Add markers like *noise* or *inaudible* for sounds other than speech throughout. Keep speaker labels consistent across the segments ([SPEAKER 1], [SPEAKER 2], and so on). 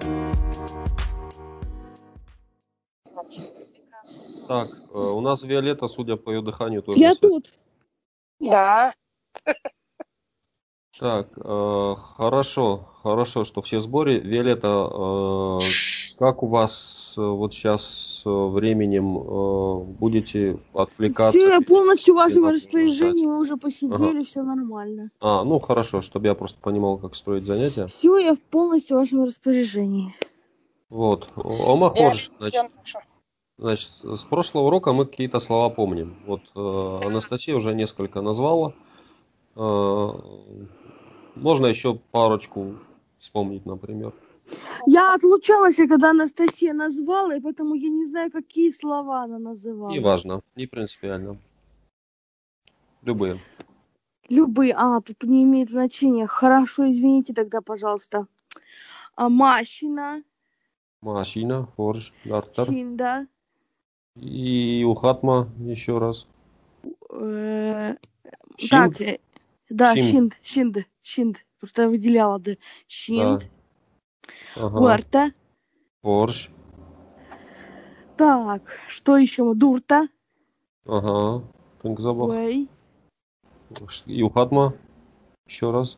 [SPEAKER 1] э, У нас Виолетта, судя по ее дыханию, тоже.
[SPEAKER 2] Я
[SPEAKER 1] на связи.
[SPEAKER 2] тут.
[SPEAKER 1] Ну,
[SPEAKER 3] Да.
[SPEAKER 1] Так, э, хорошо, хорошо, что все в сборе. Виолетта, э, как у вас э, вот сейчас временем э, будете отвлекаться?
[SPEAKER 2] Все, я полностью в вашем
[SPEAKER 1] Перед тем, как
[SPEAKER 2] распоряжении,
[SPEAKER 1] ждать.
[SPEAKER 2] мы уже посидели, все нормально.
[SPEAKER 1] А, ну хорошо, чтобы я просто понимал, как строить занятия.
[SPEAKER 2] Все, я в полностью в вашем распоряжении.
[SPEAKER 1] Вот, Ома Хорж,
[SPEAKER 3] Я-
[SPEAKER 1] значит, значит, с прошлого урока мы какие-то слова помним. Вот э, Анастасия уже несколько назвала. Э, можно еще парочку вспомнить, например.
[SPEAKER 2] Я отлучалась, когда Анастасия назвала, и поэтому я не знаю, какие слова она называла.
[SPEAKER 1] Не важно, не принципиально. Любые.
[SPEAKER 2] Любые. А, тут не имеет значения. Хорошо, извините тогда, пожалуйста. А, Мащина,
[SPEAKER 1] Машина, Форж, Дартер.
[SPEAKER 2] Чинда,
[SPEAKER 1] И Ухатма еще раз.
[SPEAKER 2] э,
[SPEAKER 1] Щин,
[SPEAKER 2] Так, э, да,
[SPEAKER 1] Щин.
[SPEAKER 2] Щинд, Щинд, Щинд. Просто я выделяла, да. Щинд,
[SPEAKER 1] Ага.
[SPEAKER 2] Гуарта.
[SPEAKER 1] Форж.
[SPEAKER 2] Так, что еще? Дурта,
[SPEAKER 1] Ага. Тынгзабах.
[SPEAKER 2] Уэй.
[SPEAKER 1] И Ухатма. Еще раз.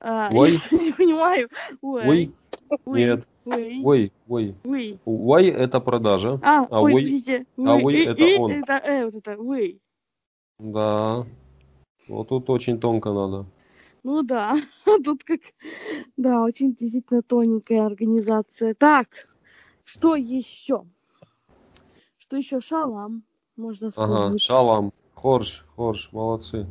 [SPEAKER 2] А,
[SPEAKER 1] Уэй.
[SPEAKER 2] Я что-то *laughs* не понимаю.
[SPEAKER 1] Ой.
[SPEAKER 2] Уэй. Уэй.
[SPEAKER 1] Нет.
[SPEAKER 2] Уэй.
[SPEAKER 1] Ой, ой.
[SPEAKER 2] Уэй.
[SPEAKER 1] Уай это продажа.
[SPEAKER 2] А,
[SPEAKER 1] А
[SPEAKER 2] ой,
[SPEAKER 1] уэй-
[SPEAKER 2] подождите.
[SPEAKER 1] а
[SPEAKER 2] Уэй.
[SPEAKER 1] уэй
[SPEAKER 2] И-
[SPEAKER 1] это
[SPEAKER 2] и-
[SPEAKER 1] он.
[SPEAKER 2] Это, э, вот это, уэй.
[SPEAKER 1] Да. Вот тут очень тонко надо.
[SPEAKER 2] Ну да, *laughs* тут как... Да, очень действительно тоненькая организация. Так, что еще? Что еще? Шалам. Можно
[SPEAKER 1] Ага.
[SPEAKER 2] вспомнить.
[SPEAKER 1] Шалам. Хорж. Хорж. Молодцы.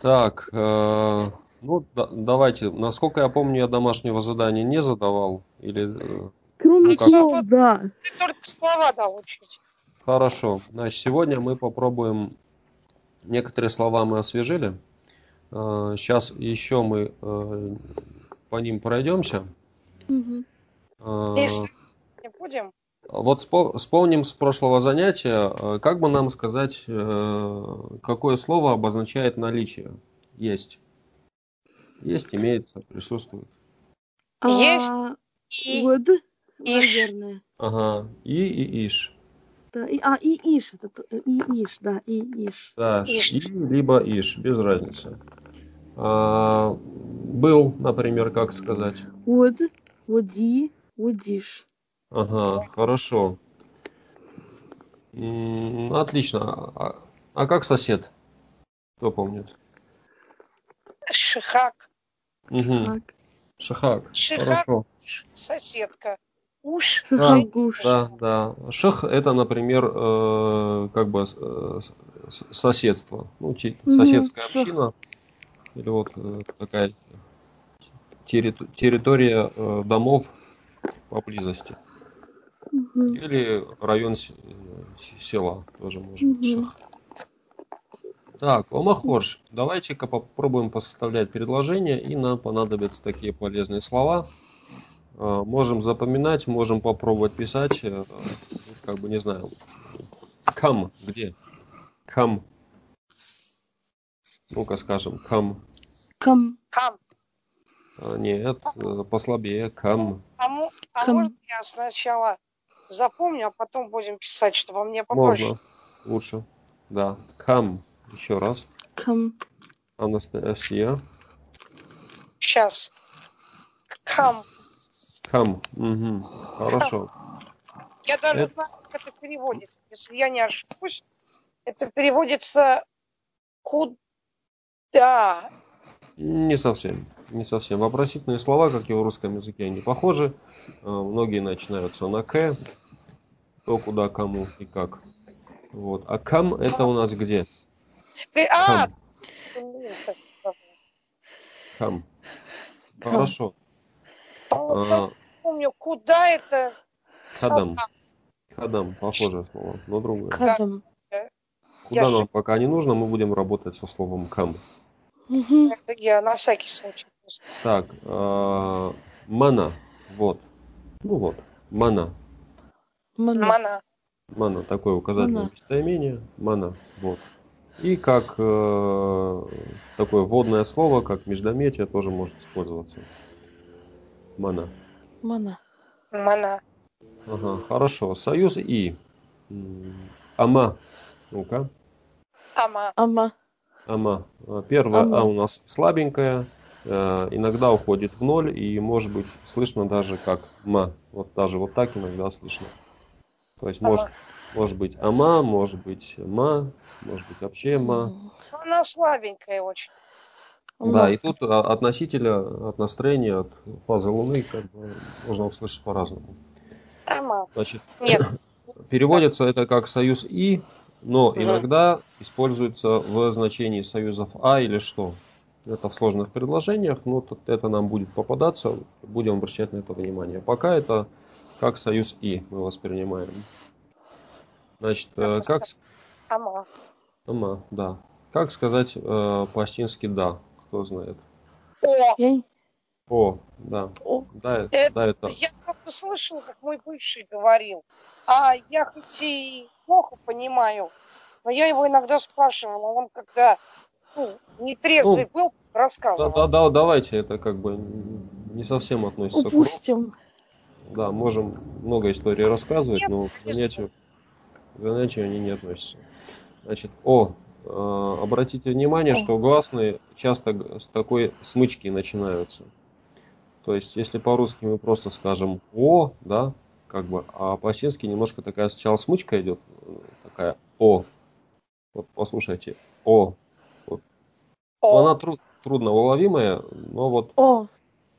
[SPEAKER 1] Так. э, ну, да- давайте. Насколько я помню, я домашнего задания не задавал. Или... э,
[SPEAKER 2] Кроме
[SPEAKER 1] Ну, как-
[SPEAKER 2] слов, да.
[SPEAKER 3] Ты только слова дал учить.
[SPEAKER 1] Хорошо. Значит, сегодня мы попробуем... Некоторые слова мы освежили. Сейчас еще мы э, по ним пройдемся.
[SPEAKER 2] Мгм.
[SPEAKER 1] Э,
[SPEAKER 3] Если не будем,
[SPEAKER 1] Вот спо- вспомним с прошлого занятия, э, как бы нам сказать, э, какое слово обозначает наличие? Есть. Есть, имеется, присутствует.
[SPEAKER 3] Есть
[SPEAKER 2] А,
[SPEAKER 3] и
[SPEAKER 2] Уэд,
[SPEAKER 3] иш.
[SPEAKER 2] наверное.
[SPEAKER 1] Ага. И и иш.
[SPEAKER 2] Да, и- А, и Иш, это т- и Иш, да, и Иш.
[SPEAKER 1] Да,
[SPEAKER 3] Иш.
[SPEAKER 1] и либо иш, без разницы. А, был, например, как сказать?
[SPEAKER 2] Уэд, Уди, Удиш.
[SPEAKER 1] Ага, хорошо. М, Отлично. А, а как сосед? Кто помнит?
[SPEAKER 3] шихак,
[SPEAKER 1] Мгм.
[SPEAKER 2] Так,
[SPEAKER 1] Шахак.
[SPEAKER 3] Шахак.
[SPEAKER 1] Хорошо.
[SPEAKER 3] ш- соседка, уж,
[SPEAKER 2] Шахагуш.
[SPEAKER 1] А, Да, да. Шах это, например, э, как бы э, с- соседство. Ну, чи-
[SPEAKER 2] Мгм,
[SPEAKER 1] соседская
[SPEAKER 2] шах.
[SPEAKER 1] община. Или вот э, такая территу- территория э, домов поблизости.
[SPEAKER 2] Мгм.
[SPEAKER 1] Или район с- э, с- села тоже может быть.
[SPEAKER 2] Мгм.
[SPEAKER 1] шах. Так, Омахорж, давайте-ка попробуем посоставлять предложения, и нам понадобятся такие полезные слова. Э, Можем запоминать, можем попробовать писать, э, тут как бы не знаю. Кам, где? Кам. Ну-ка скажем, кам.
[SPEAKER 2] Кам.
[SPEAKER 3] кам.
[SPEAKER 1] А, Нет, э, послабее, кам.
[SPEAKER 3] А, мо- а
[SPEAKER 2] Кам.
[SPEAKER 3] можно я сначала запомню, а потом будем писать, чтобы мне попроще.
[SPEAKER 1] Можно, лучше. Да, кам. Еще раз.
[SPEAKER 2] Кам.
[SPEAKER 1] Анастасия.
[SPEAKER 3] Сейчас. Кам.
[SPEAKER 1] Хам. Мгм. Хорошо.
[SPEAKER 3] Я даже
[SPEAKER 1] Это-
[SPEAKER 3] знаю, как это переводится. Если я не ошибусь, это переводится куда?
[SPEAKER 1] Не совсем. Не совсем. Вопросительные слова, как и в русском языке, они похожи. Э, Многие начинаются на К. Кто, куда, кому и как. Вот. А кам это у нас где?
[SPEAKER 3] Ты- А,
[SPEAKER 1] Кам.
[SPEAKER 3] блин,
[SPEAKER 1] Кам.
[SPEAKER 2] Кам.
[SPEAKER 1] Хорошо.
[SPEAKER 3] по-моему,
[SPEAKER 1] А,
[SPEAKER 3] помню, куда это
[SPEAKER 1] Кадам. Кадам. Похожее слово, но другое.
[SPEAKER 2] Кадам.
[SPEAKER 1] Куда
[SPEAKER 3] я
[SPEAKER 1] нам пока не нужно, мы будем работать со словом кам.
[SPEAKER 2] Мгм.
[SPEAKER 3] Это я на всякий случай. просто.
[SPEAKER 1] Так, э, мана. Вот. Ну вот. Мана.
[SPEAKER 2] Мана.
[SPEAKER 3] Мана.
[SPEAKER 1] Мана, такое указательное
[SPEAKER 2] Мана.
[SPEAKER 1] местоимение. Мана, вот. И как э, такое водное слово, как междометие, тоже может использоваться. Мана.
[SPEAKER 2] Мана.
[SPEAKER 3] Мана.
[SPEAKER 1] Ага, хорошо. Союз и. М, Ама. Ну-ка.
[SPEAKER 3] Ама.
[SPEAKER 2] Ама.
[SPEAKER 1] Ама. Э, Первая
[SPEAKER 2] Ама.
[SPEAKER 1] А у нас слабенькая, э, иногда уходит в ноль, и может быть слышно даже как Ма. Вот даже вот так иногда слышно. То есть
[SPEAKER 3] Ама.
[SPEAKER 1] может, может быть Ама, может быть Ма, может быть вообще Ма.
[SPEAKER 3] Она слабенькая очень.
[SPEAKER 2] Ама.
[SPEAKER 1] Да, и тут а, от носителя, от настроения, от фазы Луны, как бы можно услышать по-разному.
[SPEAKER 3] Ама.
[SPEAKER 1] Значит,
[SPEAKER 3] Нет.
[SPEAKER 1] переводится это как союз И, но
[SPEAKER 3] Мгм.
[SPEAKER 1] иногда используется в значении союзов А или что. Это в сложных предложениях, но тут это нам будет попадаться, будем обращать на это внимание. Пока это как союз И мы воспринимаем. Значит, э, как, с-
[SPEAKER 3] Ама.
[SPEAKER 1] Ама, да. как сказать э, по-осетински «да», кто знает.
[SPEAKER 3] О,
[SPEAKER 2] Я не-
[SPEAKER 1] О, да.
[SPEAKER 2] О.
[SPEAKER 1] Да, э-
[SPEAKER 3] Это
[SPEAKER 1] да, это.
[SPEAKER 3] я просто слышала, как мой бывший говорил. А я хоть и плохо понимаю, но я его иногда спрашивала. Он когда ну, нетрезвый был,
[SPEAKER 1] Да,
[SPEAKER 3] рассказывал.
[SPEAKER 1] да, да, давайте, это как бы не совсем относится к
[SPEAKER 2] Упустим.
[SPEAKER 1] Да, можем много историй рассказывать,
[SPEAKER 3] Нет,
[SPEAKER 1] но к
[SPEAKER 3] конечно.
[SPEAKER 1] занятию, к занятию они не относятся. Значит, о, э, обратите внимание,
[SPEAKER 2] О.
[SPEAKER 1] что гласные часто г- с такой смычки начинаются. То есть, если по-русски мы просто скажем о, да, как бы, а по-осетински немножко такая сначала смычка идет, э, такая о. Вот послушайте, о.
[SPEAKER 3] О,
[SPEAKER 1] Она тру- трудно уловимая, но вот
[SPEAKER 2] О.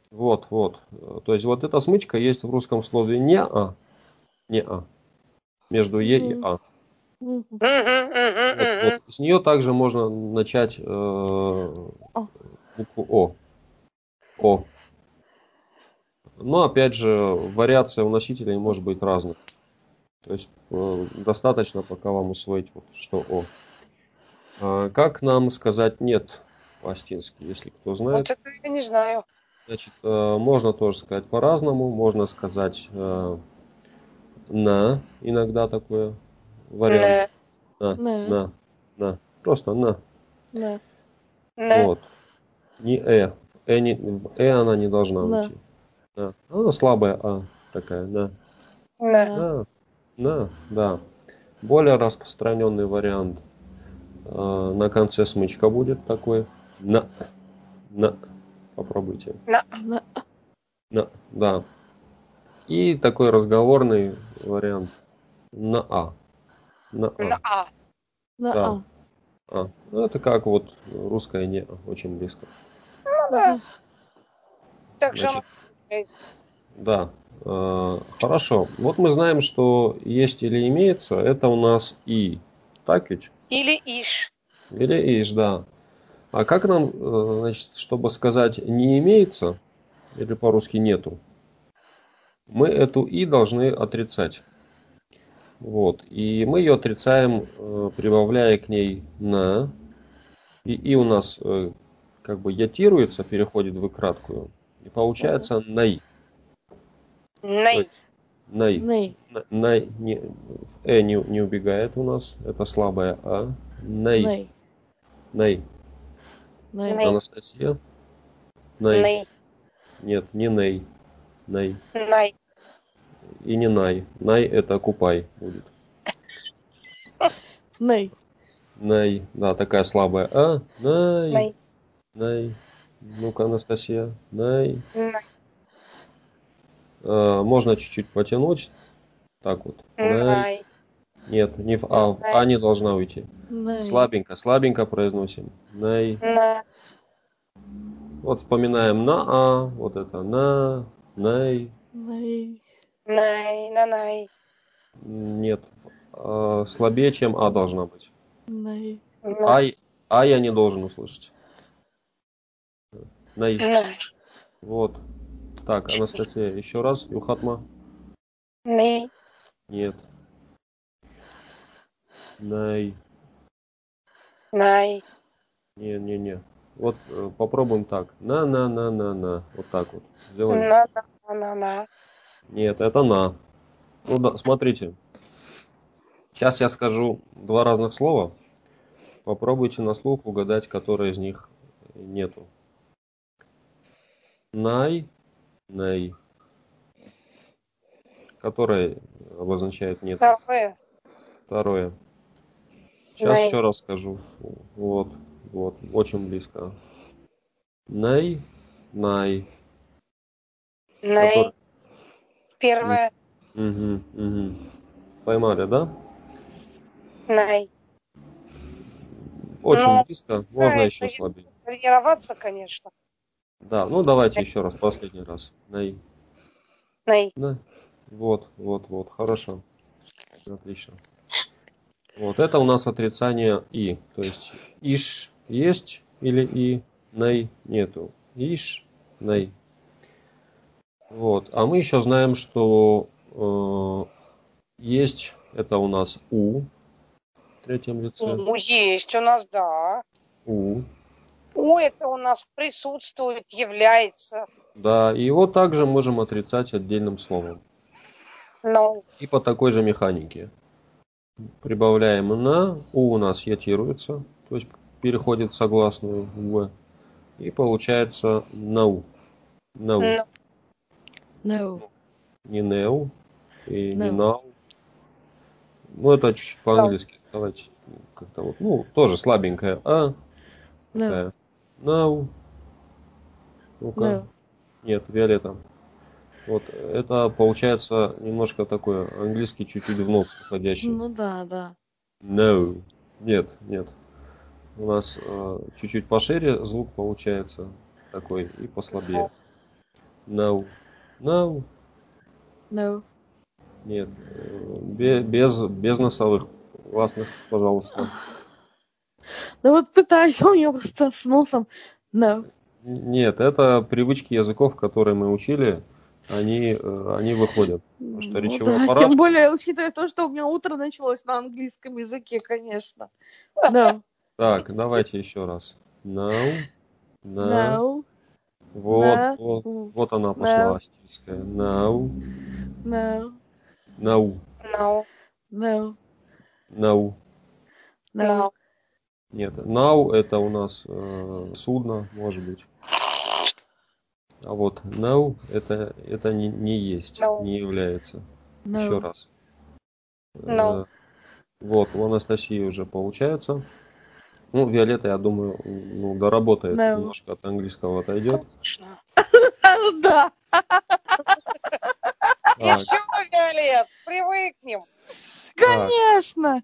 [SPEAKER 1] вот, вот. Э, То есть вот эта смычка есть в русском слове не а, не а, между е и
[SPEAKER 2] Мгм.
[SPEAKER 1] а.
[SPEAKER 2] Мгм.
[SPEAKER 3] Мгм, мгм,
[SPEAKER 1] Вот,
[SPEAKER 3] мгм.
[SPEAKER 1] вот. С нее также можно начать э, букву о, о. Но опять же вариация у носителей может быть разных. То есть э, достаточно пока вам усвоить вот что о. А как нам сказать нет по-остински, если кто знает?
[SPEAKER 3] Вот это я не знаю.
[SPEAKER 1] Значит, э, можно тоже сказать по-разному, можно сказать э, на, иногда такое вариант.
[SPEAKER 3] Не,
[SPEAKER 1] На,
[SPEAKER 2] Не.
[SPEAKER 1] на, на. Просто на.
[SPEAKER 2] Да.
[SPEAKER 3] не.
[SPEAKER 1] Вот. Не э. Э, не, в э она не должна
[SPEAKER 2] На.
[SPEAKER 1] уйти. На. Она слабая а такая, на.
[SPEAKER 3] не.
[SPEAKER 1] На, на, да. Более распространенный вариант. э, на конце смычка будет такой. На, на. Попробуйте.
[SPEAKER 2] На-
[SPEAKER 1] На, да. И такой разговорный вариант на А. На
[SPEAKER 3] На
[SPEAKER 1] А.
[SPEAKER 3] А.
[SPEAKER 2] на
[SPEAKER 1] Да.
[SPEAKER 2] А.
[SPEAKER 1] А. Ну, это как вот русское не А, очень близко.
[SPEAKER 3] да. Так же
[SPEAKER 1] Значит,
[SPEAKER 3] она-
[SPEAKER 1] да. Э, Хорошо. Вот мы знаем, что есть или имеется, это у нас И. Так ведь?
[SPEAKER 3] Или Иш.
[SPEAKER 1] Или ИШ, да. А как нам, э, значит, чтобы сказать не имеется, или по-русски нету, мы эту И должны отрицать. Вот. И мы ее отрицаем, э, прибавляя к ней на. И И у нас э, как бы ятируется, переходит в И краткую. И получается наи.
[SPEAKER 3] Ней.
[SPEAKER 1] Наи.
[SPEAKER 2] Ней.
[SPEAKER 1] На- най- не, в э не, не убегает у нас. Это слабая а. Наи.
[SPEAKER 2] Ней.
[SPEAKER 1] Наи.
[SPEAKER 2] Ней.
[SPEAKER 3] Ней.
[SPEAKER 1] Анастасия. Най.
[SPEAKER 3] Ней.
[SPEAKER 1] Нет, не Ней. Най.
[SPEAKER 3] Ней.
[SPEAKER 1] И не Най. Най это купай будет.
[SPEAKER 2] Ней.
[SPEAKER 1] Най. Да, такая слабая. А? Най. Най.
[SPEAKER 3] Ней.
[SPEAKER 1] Ну-ка, Анастасия. Най.
[SPEAKER 3] Ней.
[SPEAKER 1] Э, можно чуть-чуть потянуть. Так вот. Най.
[SPEAKER 3] Ней.
[SPEAKER 1] Нет, не в А. В
[SPEAKER 3] Най.
[SPEAKER 1] А не должна уйти.
[SPEAKER 2] Ней.
[SPEAKER 1] Слабенько, слабенько произносим. Най.
[SPEAKER 3] Ней.
[SPEAKER 1] Вот вспоминаем на А. Вот это на. Най.
[SPEAKER 2] Ней.
[SPEAKER 3] Най, на най,
[SPEAKER 1] Нет. Э, слабее, чем А должна быть.
[SPEAKER 2] Ней.
[SPEAKER 3] на-
[SPEAKER 1] Ай, а я не должен услышать. Най.
[SPEAKER 3] най,
[SPEAKER 1] Вот. Так, Анастасия, еще раз. Юхатма.
[SPEAKER 3] ней,
[SPEAKER 1] Нет. Най.
[SPEAKER 3] най,
[SPEAKER 1] Не-не-не. Вот э, попробуем так. На-на-на-на-на. Вот так вот. Сделаем.
[SPEAKER 3] на, на, на, на,
[SPEAKER 1] Нет, это на. Ну да, смотрите. Сейчас я скажу два разных слова. Попробуйте на слух угадать, которое из них нету. Най, най. Которое обозначает нет.
[SPEAKER 3] второе,
[SPEAKER 1] Второе. Сейчас
[SPEAKER 3] Ней.
[SPEAKER 1] еще раз скажу. Вот, вот, очень близко. Ней, най.
[SPEAKER 3] Ней.
[SPEAKER 1] Который-
[SPEAKER 3] Первое.
[SPEAKER 1] Мгм, мгм. Поймали, да?
[SPEAKER 3] Ней.
[SPEAKER 1] Очень
[SPEAKER 3] Ну,
[SPEAKER 1] близко. Можно
[SPEAKER 3] это
[SPEAKER 1] еще
[SPEAKER 3] я-
[SPEAKER 1] слабее.
[SPEAKER 3] Тренироваться, конечно.
[SPEAKER 1] Да, ну давайте еще раз, последний раз. Ней.
[SPEAKER 3] Ней.
[SPEAKER 1] Да. Вот, вот, вот, хорошо. Отлично. Вот это у нас отрицание и. То есть иш есть или и ней нету. Иш, ней. Вот. А мы еще знаем, что э, есть это у нас у в третьем лице.
[SPEAKER 3] Ну, есть у нас, да.
[SPEAKER 1] У.
[SPEAKER 3] О, это у нас присутствует, является.
[SPEAKER 1] Да, и его также можем отрицать отдельным словом.
[SPEAKER 3] Но
[SPEAKER 1] И по такой же механике. Прибавляем на, у у нас ятируется, то есть переходит в согласную в. И получается нау. Нау.
[SPEAKER 3] Н-
[SPEAKER 2] No.
[SPEAKER 1] Не неу и не
[SPEAKER 2] Нау.
[SPEAKER 1] нау. Ну, это чуть-чуть по-английски. Давайте как-то вот. Ну, тоже слабенькая. А.
[SPEAKER 2] No.
[SPEAKER 1] Такая. Нау. Ну-ка.
[SPEAKER 2] No.
[SPEAKER 1] Нет, Виолетта. Вот, это получается немножко такое, английский чуть-чуть в нос уходящий.
[SPEAKER 2] Ну да, да.
[SPEAKER 1] No. Нет, нет. У нас э, чуть-чуть пошире звук получается такой и послабее. No. No.
[SPEAKER 2] No.
[SPEAKER 1] Нет. Э, бе- без, без носовых. Гласных, пожалуйста.
[SPEAKER 2] Да вот пытаюсь, а у меня просто с носом. Ну. No.
[SPEAKER 1] Н- Нет, это привычки языков, которые мы учили, они, э, они выходят. что,
[SPEAKER 2] Ну
[SPEAKER 1] речевой
[SPEAKER 2] да,
[SPEAKER 1] аппарат-
[SPEAKER 2] Тем более, учитывая то, что у меня утро началось на английском языке, конечно. *laughs* No.
[SPEAKER 1] Так, давайте еще раз. No. На.
[SPEAKER 2] No.
[SPEAKER 1] Вот,
[SPEAKER 2] На.
[SPEAKER 1] вот,
[SPEAKER 2] No.
[SPEAKER 1] вот она
[SPEAKER 2] На.
[SPEAKER 1] пошла астильская. Нау.
[SPEAKER 2] No.
[SPEAKER 1] Нау.
[SPEAKER 3] no,
[SPEAKER 2] No.
[SPEAKER 1] Нау.
[SPEAKER 2] No.
[SPEAKER 1] Нет, нау это у нас э, судно, может быть. А вот нау это, это не, не есть,
[SPEAKER 3] Нау.
[SPEAKER 1] не является. Еще
[SPEAKER 2] *laughs*
[SPEAKER 1] раз.
[SPEAKER 3] Нау.
[SPEAKER 1] Э, вот, у Анастасии уже получается. Ну, Виолетта, я думаю, ну, доработает
[SPEAKER 2] Нау.
[SPEAKER 1] немножко от английского отойдет.
[SPEAKER 3] конечно.
[SPEAKER 2] А, ну Да.
[SPEAKER 1] Так,
[SPEAKER 3] Ничего, Виолет, привыкнем.
[SPEAKER 1] так,
[SPEAKER 2] Конечно.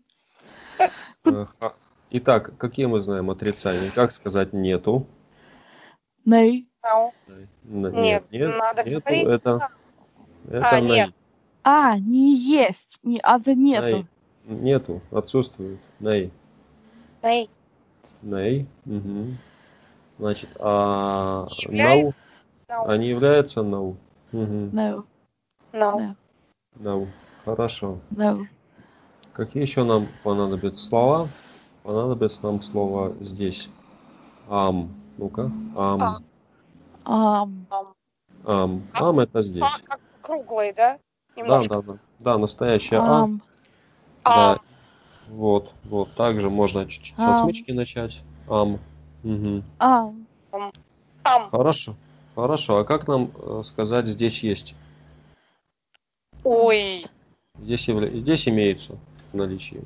[SPEAKER 1] э, ха- Итак, какие мы знаем отрицания? Как сказать нету?
[SPEAKER 2] No.
[SPEAKER 3] No.
[SPEAKER 1] Н-
[SPEAKER 3] Нет,
[SPEAKER 1] нет, нет,
[SPEAKER 3] надо
[SPEAKER 1] нету,
[SPEAKER 3] говорить
[SPEAKER 1] это, это на-
[SPEAKER 3] А, нет.
[SPEAKER 2] А, не есть. Не, а да нету.
[SPEAKER 1] на- нету, отсутствует. Най.
[SPEAKER 3] Ней.
[SPEAKER 1] Най. Мгм. Значит, а нау,
[SPEAKER 3] Является No.
[SPEAKER 1] они являются нау. Мгм.
[SPEAKER 2] No.
[SPEAKER 3] No.
[SPEAKER 1] Нау. Хорошо.
[SPEAKER 2] No.
[SPEAKER 1] Какие еще нам понадобятся слова? Понадобится нам слово здесь. Ам. Ну-ка. Ам.
[SPEAKER 3] Ам.
[SPEAKER 2] Um.
[SPEAKER 1] Ам. Ам это
[SPEAKER 3] А,
[SPEAKER 1] здесь.
[SPEAKER 3] как круглый, да?
[SPEAKER 1] Да,
[SPEAKER 3] Немножко.
[SPEAKER 1] да, да. Да, настоящая А.
[SPEAKER 2] Um.
[SPEAKER 1] Да.
[SPEAKER 3] А,
[SPEAKER 1] Вот, вот. Также можно чуть-чуть со
[SPEAKER 2] Ам.
[SPEAKER 1] смычки начать. Ам. Мгм.
[SPEAKER 2] Um.
[SPEAKER 3] там.
[SPEAKER 1] Хорошо. Хорошо. А как нам э, сказать здесь есть?
[SPEAKER 3] Ой.
[SPEAKER 1] Здесь, явля- здесь имеется в наличии.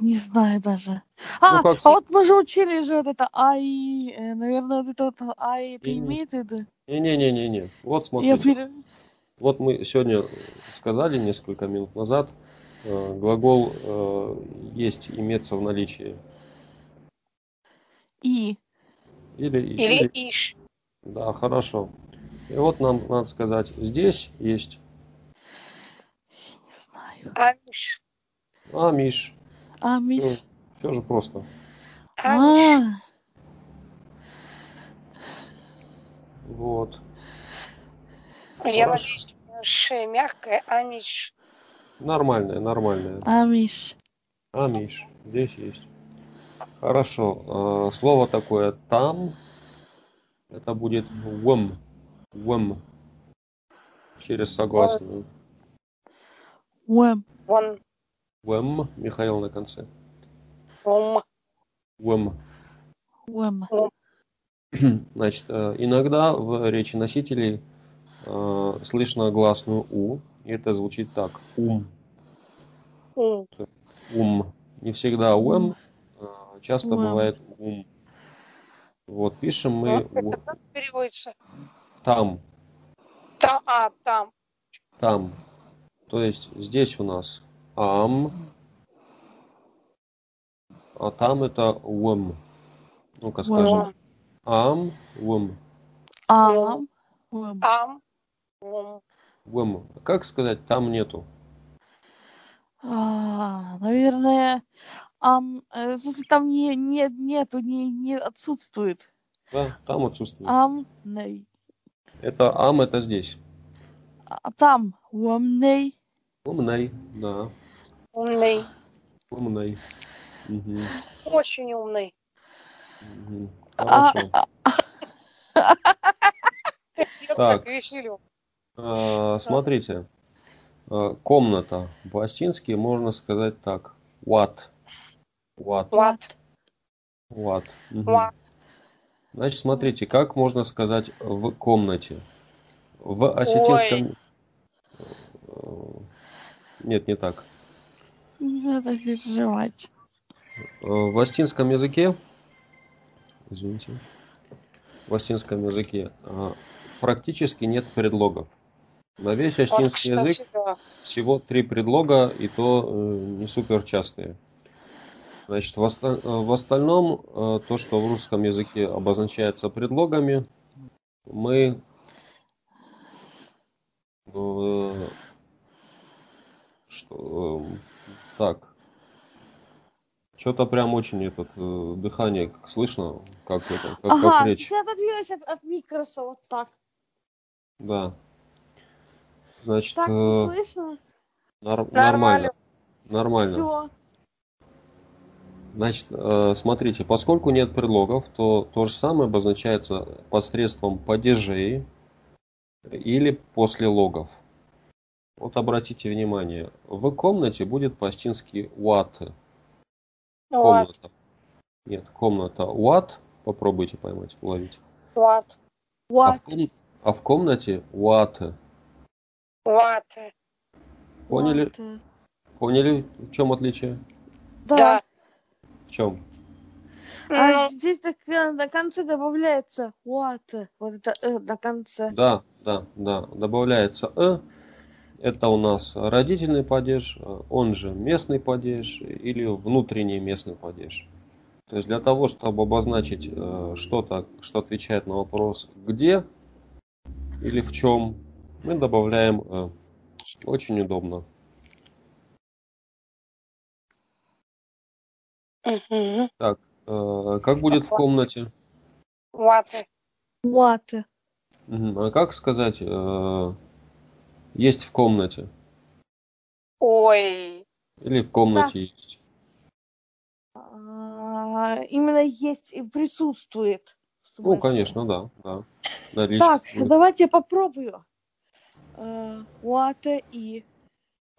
[SPEAKER 2] Не знаю даже. А,
[SPEAKER 1] Ну, как с-
[SPEAKER 2] а вот мы же учили же вот это ай, э, наверное, вот это вот ай, это
[SPEAKER 1] И-
[SPEAKER 2] имеется в виду?
[SPEAKER 1] Не-не-не-не-не. Вот
[SPEAKER 2] Я
[SPEAKER 1] смотрите.
[SPEAKER 2] пере-
[SPEAKER 1] Вот мы сегодня сказали несколько минут назад, э, глагол э, есть, имеется в наличии.
[SPEAKER 2] И.
[SPEAKER 1] Или,
[SPEAKER 3] Или иш.
[SPEAKER 1] Да, хорошо. И вот нам надо сказать, здесь есть
[SPEAKER 2] Не знаю.
[SPEAKER 3] Амиш.
[SPEAKER 1] амиш.
[SPEAKER 2] А, Миш.
[SPEAKER 1] Все же просто.
[SPEAKER 2] А,
[SPEAKER 3] Амиш.
[SPEAKER 1] Вот.
[SPEAKER 3] Я
[SPEAKER 1] Хорошо.
[SPEAKER 3] надеюсь, ш мягкая, амиш.
[SPEAKER 1] Нормальное, нормальное.
[SPEAKER 2] Амиш.
[SPEAKER 1] Амиш. А, Здесь есть. Хорошо. Э, Слово такое там. Это будет вэм. Вэм. Через согласную.
[SPEAKER 2] Уэм.
[SPEAKER 3] Вон,
[SPEAKER 1] Вэм. Михаил на конце.
[SPEAKER 3] ум,
[SPEAKER 1] Вэм. *clears throat*
[SPEAKER 2] Уэм.
[SPEAKER 1] Значит, э, иногда в речи носителей э, слышно гласную У, и это звучит так. Ум.
[SPEAKER 3] М.
[SPEAKER 1] ум. Не всегда ум, а часто
[SPEAKER 2] Уэм.
[SPEAKER 1] бывает ум. Вот, пишем
[SPEAKER 3] А,
[SPEAKER 1] мы у-
[SPEAKER 3] Это как переводится?
[SPEAKER 1] там,
[SPEAKER 3] Та, а, там.
[SPEAKER 1] там. То есть здесь у нас ам, а там это ум. Ну-ка скажем,
[SPEAKER 2] Уэм.
[SPEAKER 1] ам, ум,
[SPEAKER 2] А, ам.
[SPEAKER 3] Там. М.
[SPEAKER 1] ум. Как сказать, там нету?
[SPEAKER 2] А, наверное, ам, э, в смысле, там не, не, нету, не, не отсутствует.
[SPEAKER 1] Да, там отсутствует.
[SPEAKER 2] Ам, ней.
[SPEAKER 1] Это ам, это здесь.
[SPEAKER 2] А там, уам, ней.
[SPEAKER 1] Умный, да,
[SPEAKER 3] Умный.
[SPEAKER 1] умный. Мгм,
[SPEAKER 3] Очень умный.
[SPEAKER 1] мгм.
[SPEAKER 2] А,
[SPEAKER 1] Хорошо.
[SPEAKER 2] а,
[SPEAKER 3] Я
[SPEAKER 1] Так.
[SPEAKER 3] так веселю.
[SPEAKER 1] А, Смотрите, А, комната. По-остински можно сказать так. What. What.
[SPEAKER 3] Лад.
[SPEAKER 1] What. Мгм.
[SPEAKER 3] Лад.
[SPEAKER 1] Значит, смотрите, как можно сказать в комнате. В осетинском... Э, Нет, не так.
[SPEAKER 2] не надо переживать.
[SPEAKER 1] Э, В остинском языке, извините, в остинском языке э, практически нет предлогов. На весь остинский язык всего три предлога, и то э, не супер частые. Значит, в, оста- э, в остальном э, то, что в русском языке обозначается предлогами, мы э, что, эм, так что-то прям очень этот э, дыхание как слышно, как это, как, как
[SPEAKER 2] Ага,
[SPEAKER 1] речь.
[SPEAKER 2] сейчас отодвинулась от, от микроса вот так.
[SPEAKER 1] Да. Значит,
[SPEAKER 2] Так,
[SPEAKER 1] э,
[SPEAKER 2] не слышно?
[SPEAKER 1] нар-
[SPEAKER 3] Нормально.
[SPEAKER 1] нормально. Нормально.
[SPEAKER 2] Все.
[SPEAKER 1] Значит, э, смотрите, поскольку нет предлогов, то то же самое обозначается посредством падежей или после логов. Вот обратите внимание, в комнате будет по-остински what.
[SPEAKER 3] Лад.
[SPEAKER 1] Комната. Нет, комната what. Попробуйте поймать, уловить.
[SPEAKER 3] Лад.
[SPEAKER 1] А в,
[SPEAKER 2] What?
[SPEAKER 1] ком- а в комнате what.
[SPEAKER 3] Лад.
[SPEAKER 1] Поняли?
[SPEAKER 2] What?
[SPEAKER 1] Поняли, в чем отличие?
[SPEAKER 2] Да.
[SPEAKER 3] Да.
[SPEAKER 1] В чем?
[SPEAKER 2] А
[SPEAKER 3] Ну,
[SPEAKER 2] здесь так, э, на конце добавляется what. Вот это э, на конце.
[SPEAKER 1] Да, да, да. Добавляется «э». Это у нас родительный падеж, э, он же местный падеж или внутренний местный падеж. То есть для того, чтобы обозначить э, что-то, что отвечает на вопрос «где» или «в чем», мы добавляем «э». Очень удобно.
[SPEAKER 3] Ну, мгм.
[SPEAKER 1] Э, Как будет в комнате?
[SPEAKER 3] Лад.
[SPEAKER 2] What?
[SPEAKER 1] Мгм. А как сказать э, «есть в комнате»
[SPEAKER 3] Ой.
[SPEAKER 1] или «в комнате есть»?
[SPEAKER 2] А, именно есть и присутствует. в
[SPEAKER 1] Ну,
[SPEAKER 2] смысле.
[SPEAKER 1] конечно, да, да. Наличие.
[SPEAKER 2] Так, давайте я попробую. Э, What и.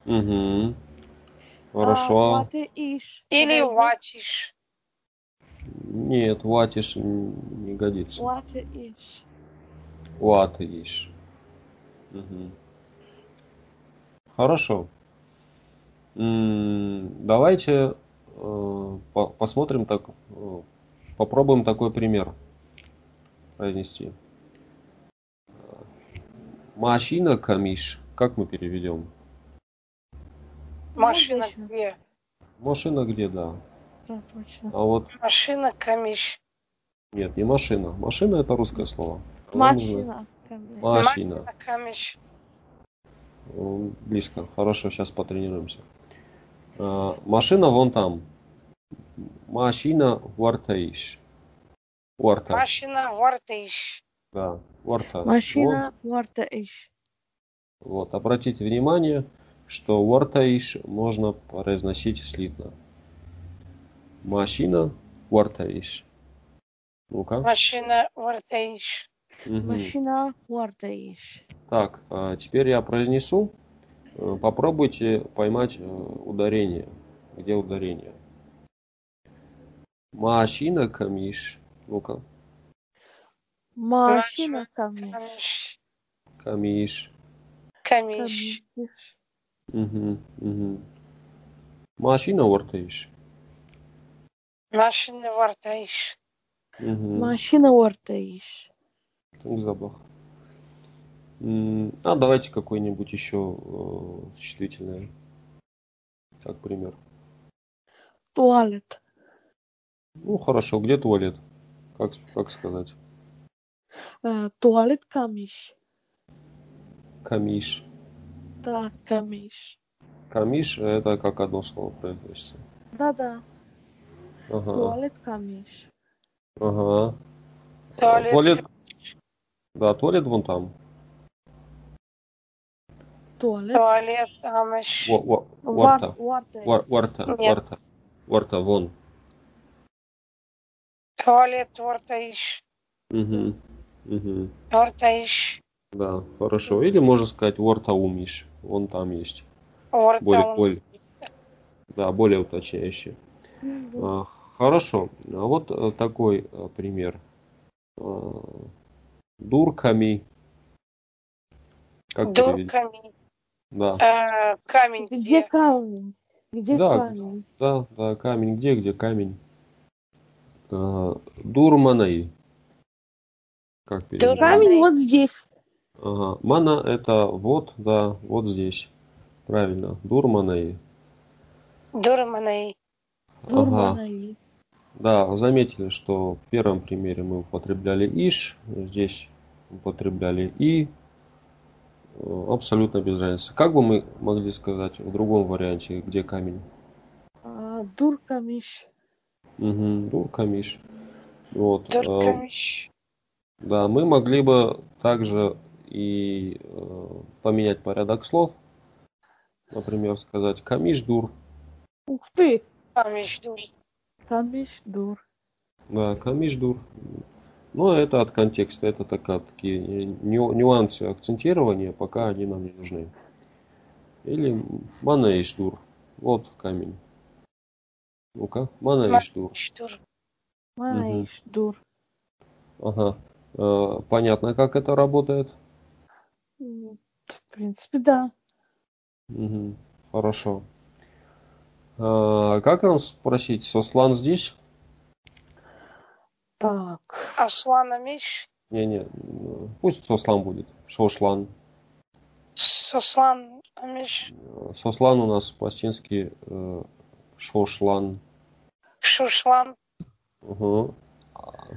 [SPEAKER 1] Угу. Хорошо.
[SPEAKER 2] а, What иш.
[SPEAKER 3] Или
[SPEAKER 2] Подойдёт?
[SPEAKER 3] ватиш.
[SPEAKER 1] Нет, ватиш н- не годится.
[SPEAKER 2] What иш.
[SPEAKER 1] Ватиш. Мгм. Хорошо. М, Давайте э, по- посмотрим так, э, попробуем такой пример произнести. Машина камиш. Как мы переведем?
[SPEAKER 3] Машина
[SPEAKER 2] Ватиш.
[SPEAKER 3] где?
[SPEAKER 1] Машина где, да.
[SPEAKER 2] Да, точно.
[SPEAKER 1] А вот
[SPEAKER 3] Машина камиш.
[SPEAKER 1] нет, не машина. Машина это русское слово. Оно нужно-
[SPEAKER 2] Машина. ко мне.
[SPEAKER 1] Машина.
[SPEAKER 3] камиш.
[SPEAKER 1] М, Близко. Хорошо, сейчас потренируемся. А, Машина вон там. Машина вартаиш. Варта.
[SPEAKER 3] Машина вартиш.
[SPEAKER 1] Да, варта.
[SPEAKER 2] Машина. What иш.
[SPEAKER 1] Вот, вот. Обратите внимание, что вартаиш можно произносить слитно. Машина вартаиш. Ну-ка.
[SPEAKER 3] Машина вартиш.
[SPEAKER 1] Мгм.
[SPEAKER 2] Машина. What иш.
[SPEAKER 1] Так, а, теперь я произнесу. Э, Попробуйте поймать э, ударение. Где ударение? Машина камиш. Ну-ка.
[SPEAKER 2] Машина ко мне.
[SPEAKER 3] Камиш.
[SPEAKER 1] Камиш.
[SPEAKER 2] Ко
[SPEAKER 3] Камиш.
[SPEAKER 2] мне.
[SPEAKER 1] Мгм, мгм. Машина ортаишь.
[SPEAKER 3] Машина вартаиш.
[SPEAKER 1] Угу.
[SPEAKER 2] Машина ортаиш.
[SPEAKER 1] запах. М, А давайте какой-нибудь еще э, существительное. Как пример.
[SPEAKER 2] Туалет.
[SPEAKER 1] Ну хорошо, где туалет? Как, с- как сказать?
[SPEAKER 2] Э, Туалет камиш.
[SPEAKER 1] Камиш.
[SPEAKER 2] Да, камиш.
[SPEAKER 1] Камиш это как одно слово произносится.
[SPEAKER 2] Да-да,
[SPEAKER 1] Ага.
[SPEAKER 2] туалет камиш.
[SPEAKER 1] Ага. Э,
[SPEAKER 3] Туалет.
[SPEAKER 1] Да, туалет вон там.
[SPEAKER 2] Туалет.
[SPEAKER 3] Туалет, амаш.
[SPEAKER 1] Во- во-
[SPEAKER 2] Вар-
[SPEAKER 1] Варта.
[SPEAKER 2] варта.
[SPEAKER 1] Вар- Варта.
[SPEAKER 3] Нет.
[SPEAKER 1] Варта. Варта, вон.
[SPEAKER 3] Туалет вартаиш.
[SPEAKER 1] Угу. Угу.
[SPEAKER 3] Вартаиш.
[SPEAKER 1] Да, хорошо. Или можно сказать Ворта умиш. Он там есть. Более,
[SPEAKER 3] Вартаун.
[SPEAKER 1] более, да, более уточняющий.
[SPEAKER 2] Мгм.
[SPEAKER 1] А, Хорошо. А Вот э, такой э, пример. А, Дурками. Как переведёт?
[SPEAKER 3] Дурками.
[SPEAKER 1] Да,
[SPEAKER 3] Э, Камень
[SPEAKER 2] Где
[SPEAKER 3] где?
[SPEAKER 2] камень? Где
[SPEAKER 1] Да.
[SPEAKER 2] камень?
[SPEAKER 1] да, да, камень. Где, где камень? А, Дурманай. Как переведёт?
[SPEAKER 3] Дурман.
[SPEAKER 2] Камень вот здесь.
[SPEAKER 1] Ага. Мана это вот, да, вот здесь. Правильно. Дурманай.
[SPEAKER 3] Дурманай.
[SPEAKER 1] Ага.
[SPEAKER 2] Дурманай.
[SPEAKER 1] Да, заметили, что в первом примере мы употребляли иш, здесь употребляли и. Э, Абсолютно без разницы. Как бы мы могли сказать в другом варианте, где камень?
[SPEAKER 2] А, Дур камиш.
[SPEAKER 1] Угу, дуркамиш. Вот. э,
[SPEAKER 3] Дуркамиш.
[SPEAKER 1] Да, мы могли бы также и э, поменять порядок слов. Например, сказать камиш дур.
[SPEAKER 2] Ух ты!
[SPEAKER 3] Камиш. дур.
[SPEAKER 2] Камиш дур.
[SPEAKER 1] Да, камиш-дур. Но это от контекста, это такая, такие ню- нюансы акцентирования, пока они нам не нужны. Или манаиш-дур. Вот камень. Ну-ка, манаиш-дур.
[SPEAKER 3] Камиш дур.
[SPEAKER 2] Маиш дур.
[SPEAKER 1] Ага. Э, Понятно, как это работает?
[SPEAKER 2] М, В принципе, да.
[SPEAKER 1] Мгм. Хорошо. А, Как нам спросить, Сослан здесь?
[SPEAKER 2] Так.
[SPEAKER 3] Аслан Амиш.
[SPEAKER 1] Не-не, э, пусть Сослан будет. Шошлан.
[SPEAKER 3] Сослан Амиш.
[SPEAKER 1] Э, Сослан у нас по-чински э, Шошлан.
[SPEAKER 3] Шушлан.
[SPEAKER 1] Угу.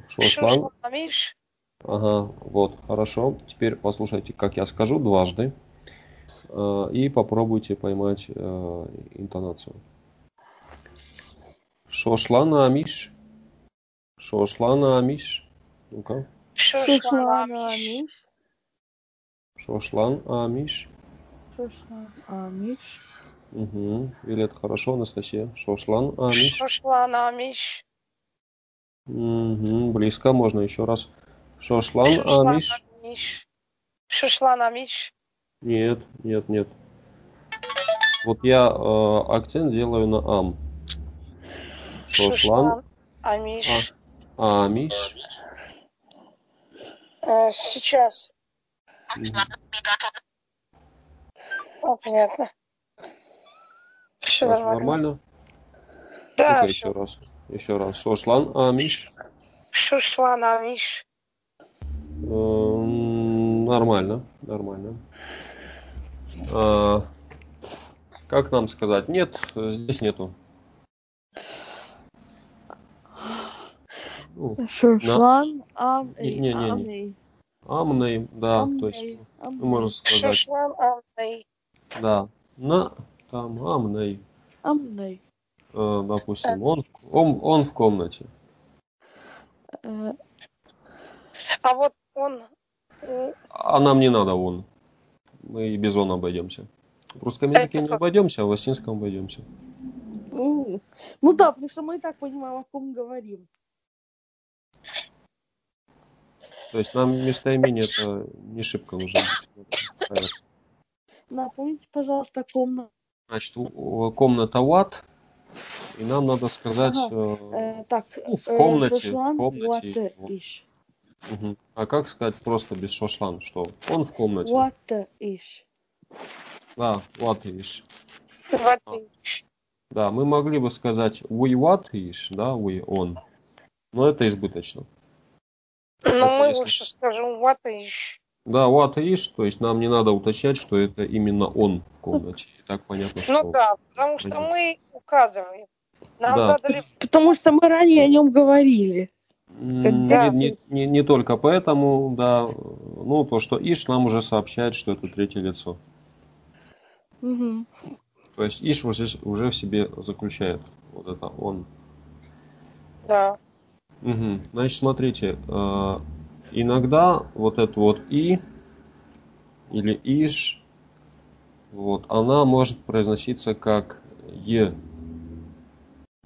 [SPEAKER 1] Шошлан.
[SPEAKER 3] Шушлан Амиш.
[SPEAKER 1] Ага, вот, хорошо. Теперь послушайте, как я скажу дважды. э, И попробуйте поймать э, интонацию. Шошлана Амиш. Шошлана Амиш. Ну-ка.
[SPEAKER 3] Шушлан
[SPEAKER 2] Шошлан
[SPEAKER 3] Амиш.
[SPEAKER 2] амиш.
[SPEAKER 1] Шошлан а, Амиш.
[SPEAKER 2] Шошлан амиш.
[SPEAKER 1] Угу. Или это хорошо, Анастасия? Шошлан а, Амиш.
[SPEAKER 3] Шушлан Амиш.
[SPEAKER 1] Мгм, Близко, можно еще раз. Шошлан а,
[SPEAKER 3] Шушлан
[SPEAKER 1] Амиш.
[SPEAKER 3] Амиш. Шушлан а Амиш.
[SPEAKER 1] Нет, нет, нет. Вот я э, акцент делаю на ам. Шошлан, а,
[SPEAKER 3] Шушлан а Амиш.
[SPEAKER 1] амиш. А.
[SPEAKER 3] Э, Сейчас.
[SPEAKER 1] Мгм.
[SPEAKER 3] О, понятно. Все
[SPEAKER 1] Так,
[SPEAKER 3] нормально.
[SPEAKER 1] нормально?
[SPEAKER 3] Да,
[SPEAKER 1] Ну-ка
[SPEAKER 3] всё.
[SPEAKER 1] еще раз. Еще раз. Шошлан, а, амиш.
[SPEAKER 3] Шушлан а Амиш.
[SPEAKER 1] Эм, Нормально, нормально. А, Как нам сказать? Нет, э, здесь нету. Ну,
[SPEAKER 2] Шошлан ам
[SPEAKER 1] Не- не- не- не.
[SPEAKER 2] амей.
[SPEAKER 1] Амней, да, то
[SPEAKER 2] Амей.
[SPEAKER 1] есть, ну, можно
[SPEAKER 2] Амей.
[SPEAKER 1] сказать,
[SPEAKER 3] Шушлан а Амей.
[SPEAKER 1] да, на, там, амней,
[SPEAKER 2] Амей.
[SPEAKER 1] Э, допустим, он, в- он, он в комнате.
[SPEAKER 2] Э,
[SPEAKER 3] А вот он... э,
[SPEAKER 1] А нам не надо он. Мы и без он обойдемся. В русском
[SPEAKER 3] Это
[SPEAKER 1] языке не
[SPEAKER 3] как?
[SPEAKER 1] обойдемся, а в осинском обойдемся.
[SPEAKER 2] м. Ну да, потому что мы и так понимаем, о ком говорим.
[SPEAKER 1] То есть нам местоимение это не шибко нужно. Понятно.
[SPEAKER 2] Напомните, пожалуйста, комнату.
[SPEAKER 1] Значит, у- у- комната ват, и нам надо сказать э,
[SPEAKER 2] так,
[SPEAKER 1] ну, в
[SPEAKER 2] э,
[SPEAKER 1] комнате. в
[SPEAKER 2] шошлан
[SPEAKER 1] комнате.
[SPEAKER 2] what ish.
[SPEAKER 1] Мгм. А как сказать просто без шошлан, что он в комнате?
[SPEAKER 2] What ish.
[SPEAKER 1] Да, what is.
[SPEAKER 3] Вадыч.
[SPEAKER 1] Да, мы могли бы сказать we what is, да, we on. Но это избыточно.
[SPEAKER 3] Но Ну, мы
[SPEAKER 1] если-
[SPEAKER 3] лучше скажем what is.
[SPEAKER 1] Да, what is, то есть нам не надо уточнять, что это именно он в комнате. И так понятно, что...
[SPEAKER 3] Ну да, потому что
[SPEAKER 1] Понятно.
[SPEAKER 3] мы указываем. Нам
[SPEAKER 1] Да.
[SPEAKER 3] задали
[SPEAKER 2] Потому что мы ранее о нем говорили.
[SPEAKER 1] М,
[SPEAKER 3] Да.
[SPEAKER 1] Не, не- не- не только поэтому, да. Ну, то, что иш нам уже сообщает, что это третье лицо.
[SPEAKER 2] Мгм.
[SPEAKER 1] То есть иш уже, уже в себе заключает вот это он.
[SPEAKER 3] да.
[SPEAKER 1] Мгм. Значит, смотрите, э, иногда вот это вот и или иш, вот, она может произноситься как е.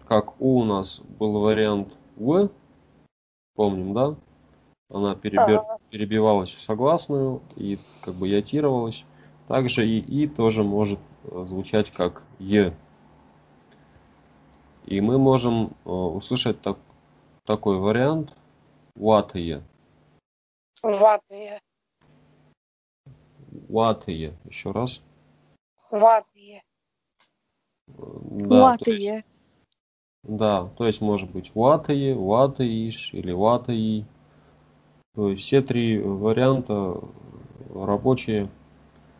[SPEAKER 1] Как у у нас был вариант в, помним, да? Она перебер-
[SPEAKER 3] Ага.
[SPEAKER 1] перебивалась в согласную и как бы ятировалась. Также и и тоже может э, звучать как е. И мы можем э, услышать так- такой вариант ватые,
[SPEAKER 3] Ватые.
[SPEAKER 1] ватые, еще раз.
[SPEAKER 3] Ватые.
[SPEAKER 1] Э, Да, то есть-
[SPEAKER 2] Латые.
[SPEAKER 1] да, то есть может быть ватые, ватаиш или ватаи. То есть все три варианта рабочие.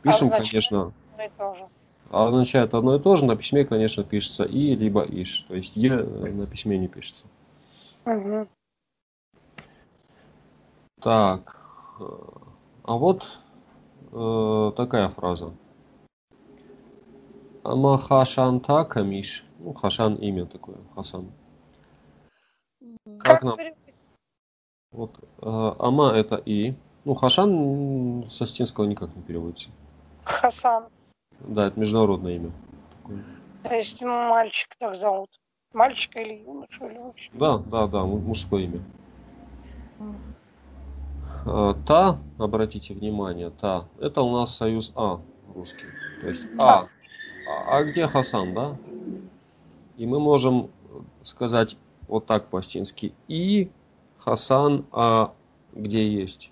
[SPEAKER 1] Пишем,
[SPEAKER 3] Однозначно.
[SPEAKER 1] конечно,
[SPEAKER 3] Мы тоже.
[SPEAKER 1] А означает одно и то же. На письме, конечно, пишется и либо иш. То есть е э, на письме не пишется.
[SPEAKER 3] Мгм.
[SPEAKER 1] Так. э, А вот э, такая фраза. Ама хашан такамиш. Ну, хашан имя такое, Хасан.
[SPEAKER 3] Как,
[SPEAKER 1] Как нам?
[SPEAKER 3] переводится?
[SPEAKER 1] Вот э, ама это и. Ну, хашан м, со стинского никак не переводится.
[SPEAKER 3] Хасан.
[SPEAKER 1] Да, это международное имя. Такое.
[SPEAKER 3] То есть мальчик так зовут. Мальчика или юношу или вообще.
[SPEAKER 1] Да, да, да, му- мужское имя.
[SPEAKER 2] Мгм.
[SPEAKER 1] Э, Та, обратите внимание, та, это у нас союз А русский. То есть А.
[SPEAKER 3] Да.
[SPEAKER 1] А, а где Хасан, да? И мы можем сказать вот так по-стински. И Хасан, а где есть?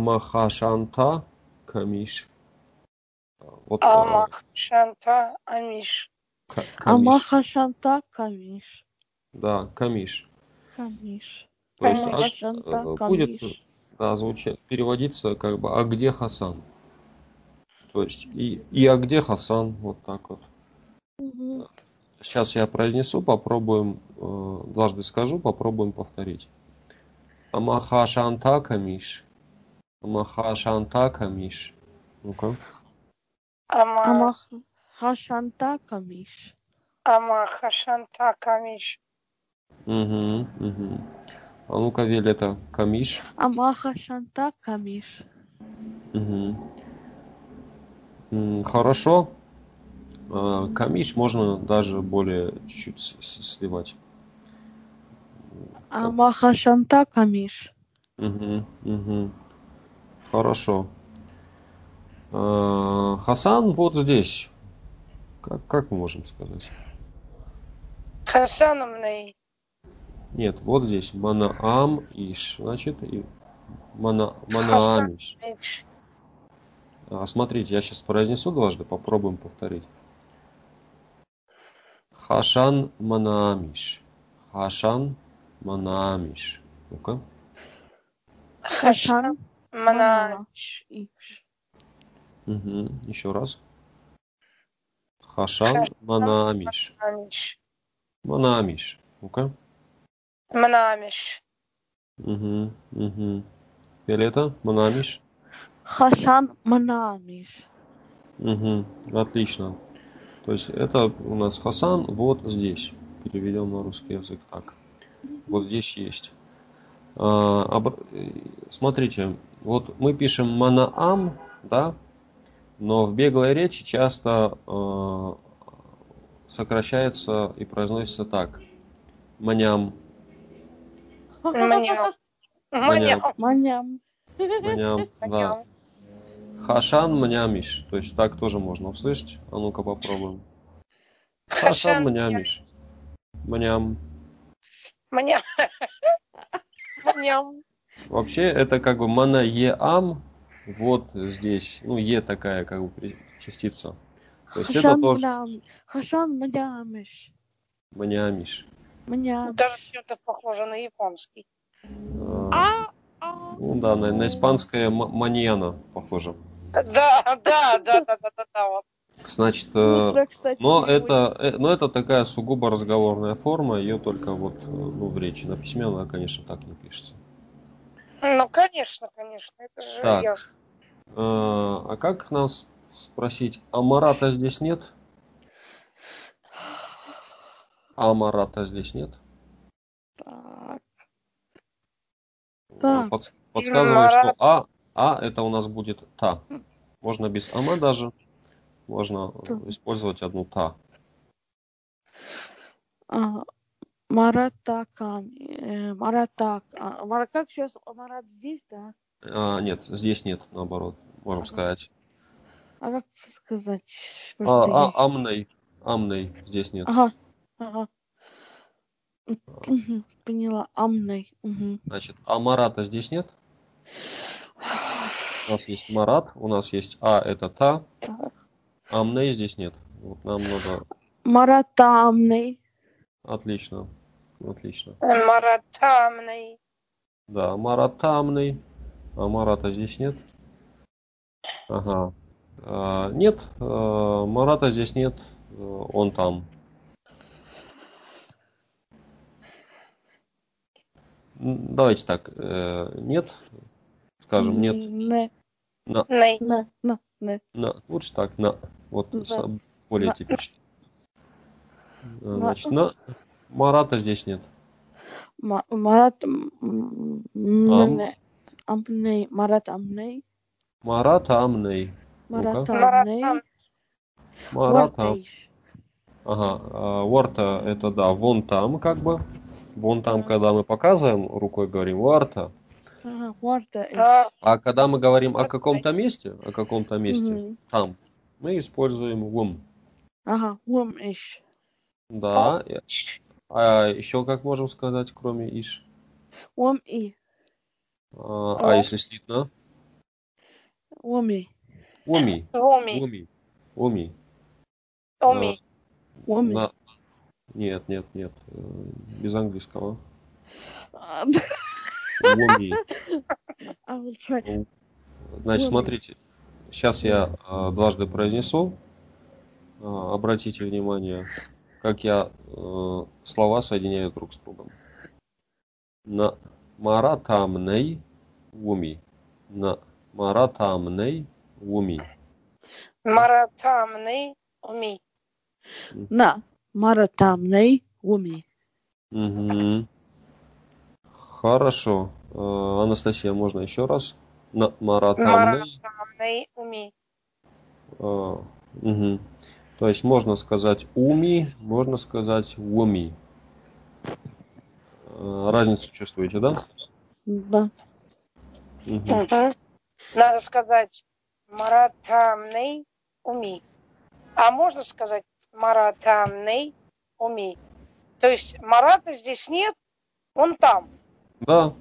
[SPEAKER 1] Амахашанта камиш. Вот, э,
[SPEAKER 3] Амах, Шанта, Амиш.
[SPEAKER 1] ка- камиш.
[SPEAKER 2] Амаха Шанта Камиш.
[SPEAKER 1] Да, камиш.
[SPEAKER 2] Камиш.
[SPEAKER 1] То есть,
[SPEAKER 3] Амаха
[SPEAKER 1] а-
[SPEAKER 2] Амаха Шанта
[SPEAKER 1] э, будет
[SPEAKER 2] Камиш.
[SPEAKER 1] Да, звучит, переводится как бы «А где Хасан?» То есть и, и «А где Хасан?» вот так вот. э,
[SPEAKER 2] Мгм.
[SPEAKER 1] Сейчас я произнесу, попробуем, э, дважды скажу, попробуем повторить. Амаха шанта камиш. Амаха шанта камиш. Ну-ка. а.
[SPEAKER 3] Амах,
[SPEAKER 2] Амаха Шанта Камиш.
[SPEAKER 3] Амаха, Шанта, Камиш.
[SPEAKER 1] Мгм, мгм. А ну-ка, Вель, это камиш.
[SPEAKER 2] Амаха Шанта Камиш.
[SPEAKER 1] Мгм. М, Хорошо. Э, Камиш можно даже более чуть-чуть с- с- сливать.
[SPEAKER 2] Амаха Шанта Камиш.
[SPEAKER 1] Мгм, мгм. Хорошо. Э, Хасан вот здесь. Как, как мы можем сказать?
[SPEAKER 3] Хасановный.
[SPEAKER 1] Нет, вот здесь. Манаам иш. Значит, и мана,
[SPEAKER 3] Хасан.
[SPEAKER 1] манаам иш. А, смотрите, я сейчас произнесу дважды, попробуем повторить. Хашан манаамиш. Хашан манаамиш. Ну-ка.
[SPEAKER 2] Хашан
[SPEAKER 3] Манамиш.
[SPEAKER 2] Иш.
[SPEAKER 1] Еще раз. Хашан манаамиш.
[SPEAKER 3] Амиш.
[SPEAKER 1] Манаамиш. Ну-ка.
[SPEAKER 3] Манамиш.
[SPEAKER 1] Угу, угу. Виолетта, Манамиш.
[SPEAKER 2] Хашан Манамиш.
[SPEAKER 1] Угу, отлично. То есть это у нас Хасан вот здесь. Переведем на русский язык так. Вот здесь есть. А, обр- э, Смотрите, вот мы пишем Манаам, да, но в беглой речи часто э, сокращается и произносится так. Маням,
[SPEAKER 3] Маням. Маням.
[SPEAKER 2] Маням.
[SPEAKER 1] маням, да.
[SPEAKER 3] Маням.
[SPEAKER 1] Хашан мнямиш. То есть так тоже можно услышать. А ну-ка попробуем. Хашан
[SPEAKER 3] Хасан
[SPEAKER 1] мнямиш. Мням.
[SPEAKER 3] Маням. Маням.
[SPEAKER 1] Вообще это как бы мана еам. Вот здесь. Ну, е такая как бы при- частица. То есть это
[SPEAKER 2] Хашан
[SPEAKER 1] тоже
[SPEAKER 2] Мадам- Хашан Мадамыш.
[SPEAKER 1] маниамиш.
[SPEAKER 2] Меня.
[SPEAKER 3] Даже чем-то похоже на японский.
[SPEAKER 1] А, Ну да, на, на испанское м- маньяна похоже.
[SPEAKER 3] Да, да, да, да, да, да, да. вот.
[SPEAKER 1] Значит, э,
[SPEAKER 2] Утро, Ну, кстати,
[SPEAKER 1] но
[SPEAKER 2] переводится.
[SPEAKER 1] это, э, но это такая сугубо разговорная форма, ее только вот э, ну, в речи. На письме она, конечно, так не пишется.
[SPEAKER 3] Ну, конечно, конечно, это же
[SPEAKER 1] Так.
[SPEAKER 3] ясно.
[SPEAKER 1] Э, А как нас спросить, а Марата здесь нет? А Марата здесь нет?
[SPEAKER 2] Так.
[SPEAKER 1] Э,
[SPEAKER 2] Так.
[SPEAKER 1] подс- Подсказывает,
[SPEAKER 3] Марат.
[SPEAKER 1] что А, А это у нас будет та. Можно без Ама даже. Можно э,
[SPEAKER 2] Так.
[SPEAKER 1] использовать одну та.
[SPEAKER 2] А, Маратакан. э, Маратак. а, Мара- Как сейчас? Марат здесь, да?
[SPEAKER 1] А, нет, здесь нет, наоборот, можем
[SPEAKER 2] Ага.
[SPEAKER 1] сказать.
[SPEAKER 2] А как сказать?
[SPEAKER 1] А,
[SPEAKER 2] Просто
[SPEAKER 1] а-
[SPEAKER 2] есть.
[SPEAKER 1] амной, амной здесь нет.
[SPEAKER 2] Ага. Ага. Мгм, Поняла. Амной. Мгм.
[SPEAKER 1] Значит, а Марата здесь нет. У нас есть Марат, у нас есть А это та,
[SPEAKER 2] Так.
[SPEAKER 1] амной здесь нет. Вот нам надо...
[SPEAKER 2] Маратамный.
[SPEAKER 1] Отлично, отлично.
[SPEAKER 3] Маратамный.
[SPEAKER 1] Да, Марат тамный, а Марата здесь нет. Ага. А, нет, э, Марата здесь нет, э, он там. М, Давайте так, э, нет, скажем нет,
[SPEAKER 2] Не,
[SPEAKER 3] Ней.
[SPEAKER 2] не, не, не.
[SPEAKER 1] на, лучше так, на, вот
[SPEAKER 2] Ну Да.
[SPEAKER 1] с- более
[SPEAKER 2] На. Ну, а
[SPEAKER 1] типично. Э, Значит, на, Марата здесь нет.
[SPEAKER 2] Ма- Марат... м, м,
[SPEAKER 1] Ам.
[SPEAKER 2] не. Амней. Марат Амней.
[SPEAKER 1] Марата амный,
[SPEAKER 2] Марат
[SPEAKER 1] Ну-ка.
[SPEAKER 2] Амней.
[SPEAKER 3] Маратам.
[SPEAKER 1] Марат ам-
[SPEAKER 2] Вортейш.
[SPEAKER 1] Ага, а, Варта это да, вон там как бы. Вон там,
[SPEAKER 2] Да.
[SPEAKER 1] когда мы показываем, рукой говорим Варта.
[SPEAKER 2] Ага, Вортейш.
[SPEAKER 3] А,
[SPEAKER 1] А когда мы говорим о каком-то месте, о каком-то месте,
[SPEAKER 2] Мгм.
[SPEAKER 1] там, мы используем вом.
[SPEAKER 2] Ага, Вомиш.
[SPEAKER 1] Да. и- А еще как можем сказать, кроме иш?
[SPEAKER 2] Вом и.
[SPEAKER 1] А,
[SPEAKER 3] О.
[SPEAKER 1] а если слитно?
[SPEAKER 2] Воми.
[SPEAKER 1] Оми.
[SPEAKER 3] а, Ломи.
[SPEAKER 1] Оми. Оми.
[SPEAKER 3] Оми.
[SPEAKER 2] Воми.
[SPEAKER 1] На- Нет, нет, нет. э, Без английского.
[SPEAKER 2] А,
[SPEAKER 1] Оми.
[SPEAKER 2] *laughs* I will try.
[SPEAKER 1] Значит,
[SPEAKER 2] Ладно.
[SPEAKER 1] смотрите, сейчас я э, дважды произнесу. Э, обратите внимание, как я э, слова соединяю друг с другом. На маратамней уми. На маратамней уми.
[SPEAKER 3] Маратамный. Уми.
[SPEAKER 2] На. Маратамней. Воми.
[SPEAKER 1] Мгм. Хорошо. Э, Анастасия, можно еще раз? На маратамней
[SPEAKER 3] Маратамный. Уми.
[SPEAKER 1] Э, мгм. То есть можно сказать уми, можно сказать уми. Э, Разницу чувствуете, да?
[SPEAKER 2] Да.
[SPEAKER 1] Мгм.
[SPEAKER 3] Мгм. Надо сказать маратамный. Уми. А можно сказать маратамный. Уми. То есть Марата здесь нет, он там.
[SPEAKER 1] Да,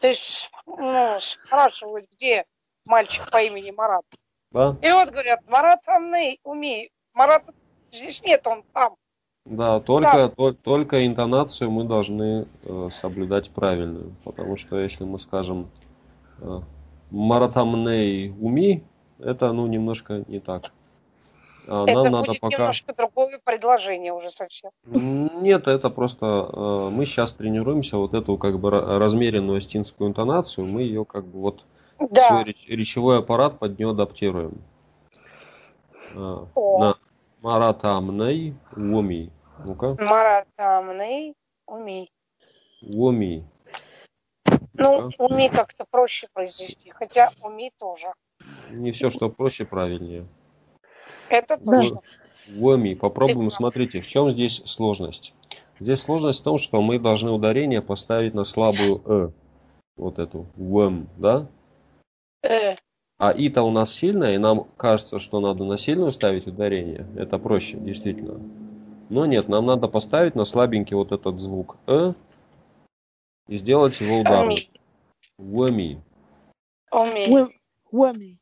[SPEAKER 3] То есть ну, спрашивают, где мальчик по имени Марат.
[SPEAKER 1] да,
[SPEAKER 3] И вот говорят, Марат Амней, уми. Марат здесь нет, он там.
[SPEAKER 1] да. Только, то- только интонацию мы должны э, соблюдать правильную. Потому что если мы скажем э, маратамней уми, это ну немножко не так. А нам
[SPEAKER 3] Это
[SPEAKER 1] надо
[SPEAKER 3] будет
[SPEAKER 1] пока.
[SPEAKER 3] немножко другое предложение уже совсем.
[SPEAKER 1] Нет, это просто э, мы сейчас тренируемся вот эту как бы ра- размеренную остинскую интонацию, мы ее как бы вот
[SPEAKER 3] Да,
[SPEAKER 1] свой реч- речевой аппарат под нее адаптируем. Э,
[SPEAKER 3] О.
[SPEAKER 1] на маратамной уми. Ну-ка,
[SPEAKER 3] Марат Амней, уми.
[SPEAKER 1] уми.
[SPEAKER 3] Ну, уми как-то проще произнести, хотя уми тоже.
[SPEAKER 1] Не все, что проще, правильнее.
[SPEAKER 3] Это
[SPEAKER 2] Да.
[SPEAKER 3] точно.
[SPEAKER 1] Уми. Попробуем,
[SPEAKER 3] Ты прав.
[SPEAKER 1] смотрите, в чем здесь сложность. Здесь сложность в том, что мы должны ударение поставить на слабую э. Вот эту. Уэм, да?
[SPEAKER 3] Э,
[SPEAKER 1] А ита у нас сильная, и нам кажется, что надо на сильную ставить ударение. Это проще, действительно. Но нет, нам надо поставить на слабенький вот этот звук э и сделать его ударом.
[SPEAKER 3] уми,
[SPEAKER 1] Вэми.
[SPEAKER 3] уми,
[SPEAKER 2] Э. Вом- Воми.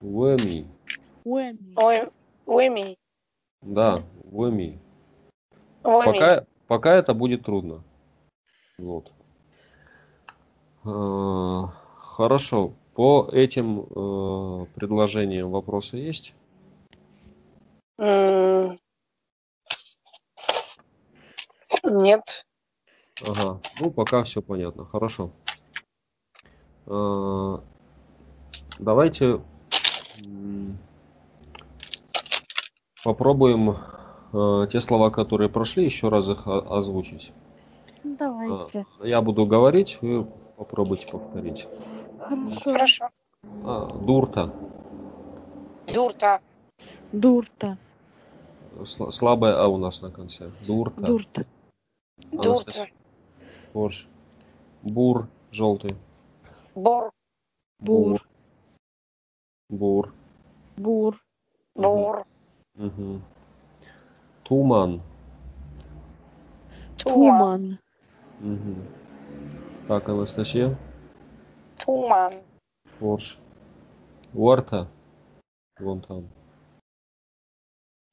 [SPEAKER 1] Вэми.
[SPEAKER 2] Воми.
[SPEAKER 3] уми, Уэми.
[SPEAKER 1] Да, в ОМИ.
[SPEAKER 3] Уэми.
[SPEAKER 1] Пока, пока это будет трудно. Вот. Э, Хорошо. По этим э, предложениям вопросы есть?
[SPEAKER 3] М. Нет.
[SPEAKER 1] Ага. Ну, пока все понятно. Хорошо. Э, Давайте м, попробуем э, те слова, которые прошли, еще раз их о- озвучить. Э,
[SPEAKER 2] Давайте.
[SPEAKER 1] Я буду говорить, вы попробуйте повторить.
[SPEAKER 2] Хорошо.
[SPEAKER 3] Хорошо.
[SPEAKER 1] А, дурта.
[SPEAKER 3] Дурта.
[SPEAKER 2] Дурта.
[SPEAKER 1] Сла- Слабая А у нас на конце. Дурта. А,
[SPEAKER 2] Дурта.
[SPEAKER 3] Дурта.
[SPEAKER 1] Корж. Бур. Желтый.
[SPEAKER 3] Бор.
[SPEAKER 2] Бур.
[SPEAKER 1] Бур.
[SPEAKER 2] Бур.
[SPEAKER 3] Бур.
[SPEAKER 1] Мгм. Туман.
[SPEAKER 3] Туман.
[SPEAKER 2] Туман.
[SPEAKER 1] Мгм. Так, Анастасия.
[SPEAKER 3] Туман.
[SPEAKER 1] Корж. Уарта. Вон там.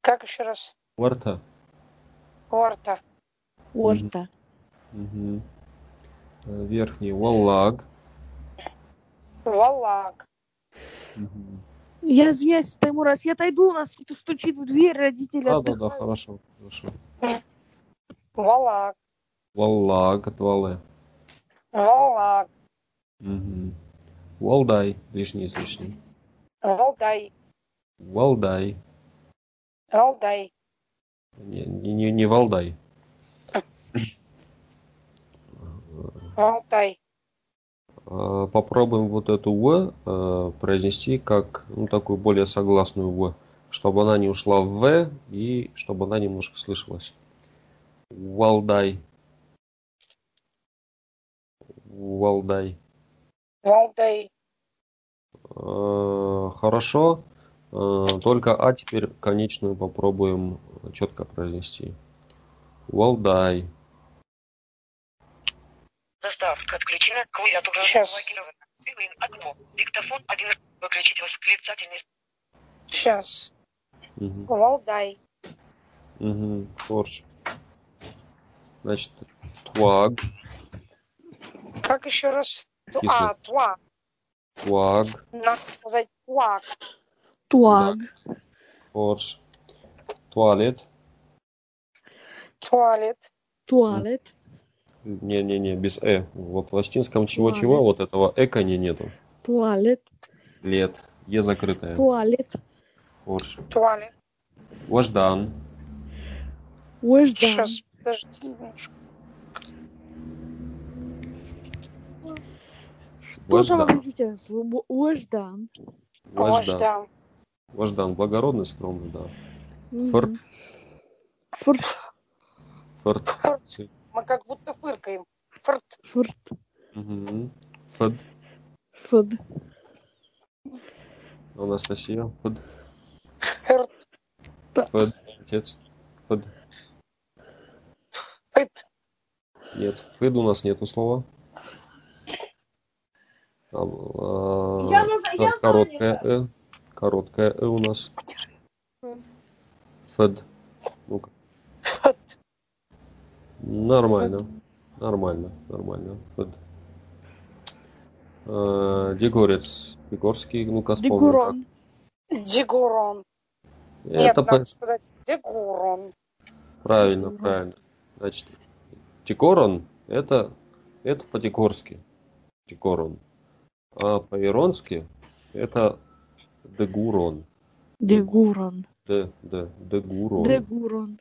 [SPEAKER 3] Как еще раз?
[SPEAKER 1] Уарта.
[SPEAKER 3] Орта.
[SPEAKER 2] Орта.
[SPEAKER 1] Мгм. Э, Верхний. Валлаг.
[SPEAKER 3] Валак.
[SPEAKER 1] Мгм.
[SPEAKER 2] Я извиняюсь, Таймур, раз я отойду, у нас кто-то стучит в дверь, родители
[SPEAKER 1] Да, да, да,
[SPEAKER 2] отдыхают.
[SPEAKER 1] хорошо. хорошо.
[SPEAKER 3] Валак.
[SPEAKER 1] Валлаг от Вале.
[SPEAKER 3] Валак.
[SPEAKER 1] Мгм. Валдай. Лишний из лишнего.
[SPEAKER 3] Валдай.
[SPEAKER 1] Валдай.
[SPEAKER 3] Валдай.
[SPEAKER 1] Не, не, не- не Валдай.
[SPEAKER 3] Валдай.
[SPEAKER 1] А, Попробуем вот эту В э, произнести как ну, такую более согласную В, чтобы она не ушла в В и чтобы она немножко слышалась. Валдай. Валдай.
[SPEAKER 3] Валдай.
[SPEAKER 1] Э, Хорошо. Э, Только А теперь конечную попробуем четко произнести. Валдай.
[SPEAKER 4] Заставка отключена, клавиатура
[SPEAKER 3] Щас.
[SPEAKER 4] заблокирована. Белое окно, диктофон один, выключить восклицательный
[SPEAKER 3] Сейчас.
[SPEAKER 1] Мгм.
[SPEAKER 3] Валдай.
[SPEAKER 1] Угу, Корж. Значит, тваг,
[SPEAKER 3] Как еще раз? Ту-
[SPEAKER 1] Кислый.
[SPEAKER 3] А, туа.
[SPEAKER 1] тваг,
[SPEAKER 3] Надо сказать туак.
[SPEAKER 2] Туаг.
[SPEAKER 1] корж. Туалет.
[SPEAKER 3] Туалет.
[SPEAKER 2] Туалет.
[SPEAKER 1] Не-не-не, без «э». Вот в латинском чего-чего,
[SPEAKER 2] Туалет.
[SPEAKER 1] вот этого «эка» не нету.
[SPEAKER 2] Туалет.
[SPEAKER 1] Лет. Е закрытая.
[SPEAKER 2] Туалет.
[SPEAKER 1] Корж.
[SPEAKER 3] Туалет.
[SPEAKER 1] Вождан.
[SPEAKER 2] Уэждан.
[SPEAKER 3] Сейчас, подожди немножко.
[SPEAKER 2] Что там
[SPEAKER 1] Вождан.
[SPEAKER 2] отключите? Слобо- Уэждан.
[SPEAKER 1] Вождан.
[SPEAKER 3] Вождам.
[SPEAKER 1] Вождан. Благородный, скромный, да.
[SPEAKER 2] Мгм.
[SPEAKER 1] Форт.
[SPEAKER 2] Форт.
[SPEAKER 1] Форт.
[SPEAKER 3] Мы как будто фыркаем. Фырт.
[SPEAKER 2] Форт.
[SPEAKER 1] Мгм. Фд.
[SPEAKER 2] Форт.
[SPEAKER 1] Анастасия. Фд.
[SPEAKER 3] Фырт.
[SPEAKER 1] Фд. Отец. Фд.
[SPEAKER 3] Фыт.
[SPEAKER 1] Нет. Фд у нас нету слова. Там, э,
[SPEAKER 2] Я наз- я
[SPEAKER 1] короткое э. Короткое э у нас. Фед. Ну-ка.
[SPEAKER 3] Фыт.
[SPEAKER 1] Нормально. Нормально. Нормально. Фед. Э, Дегорец. Дегорский. Ну-ка, вспомним. как.
[SPEAKER 2] Дегурон.
[SPEAKER 3] Дегурон. Нет,
[SPEAKER 1] Это
[SPEAKER 3] надо
[SPEAKER 1] по-
[SPEAKER 3] сказать дегурон.
[SPEAKER 1] правильно,
[SPEAKER 2] Мгм.
[SPEAKER 1] правильно. Значит, Декорон это, это по-декорски. Декорон. А по-иронски это Дегурон.
[SPEAKER 2] Дегурон.
[SPEAKER 1] Д, Д, Дегурон.
[SPEAKER 2] Дегурон.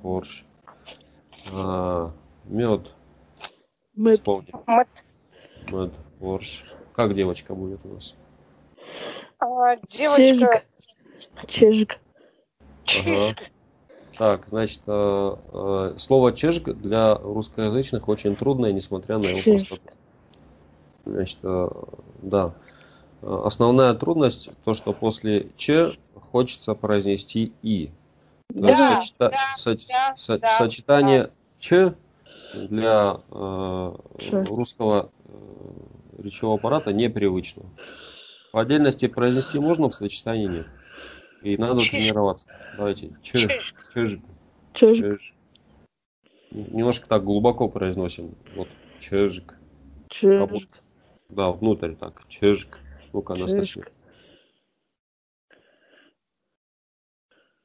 [SPEAKER 1] Корж. А, мед.
[SPEAKER 2] Мед.
[SPEAKER 1] Вспомни.
[SPEAKER 3] Мат.
[SPEAKER 1] Мед. Корж. Как девочка будет у нас?
[SPEAKER 3] А, девочка.
[SPEAKER 2] Чижик.
[SPEAKER 3] Чижик.
[SPEAKER 1] Так, значит, а, а, слово чешк для русскоязычных очень трудное, несмотря на его
[SPEAKER 2] Чешк.
[SPEAKER 1] простоту. Значит, а, да. А, Основная трудность то, что после ч хочется произнести и. То есть
[SPEAKER 3] Да,
[SPEAKER 1] сочета-
[SPEAKER 3] да,
[SPEAKER 1] соч-
[SPEAKER 3] да,
[SPEAKER 1] со-
[SPEAKER 3] да,
[SPEAKER 1] сочетание ч для э,
[SPEAKER 2] Ч.
[SPEAKER 1] русского э, речевого аппарата непривычно. По отдельности произнести можно, в сочетании нет. И надо
[SPEAKER 3] Чиж.
[SPEAKER 1] тренироваться. Давайте. Чиж.
[SPEAKER 3] Чиж.
[SPEAKER 1] Чиж.
[SPEAKER 2] Чижик.
[SPEAKER 1] Чиж. Немножко так глубоко произносим. Вот. Чижик.
[SPEAKER 2] Чижик.
[SPEAKER 1] Да, внутрь так. Чижик. Ну-ка, Анастасия.
[SPEAKER 2] Чижик.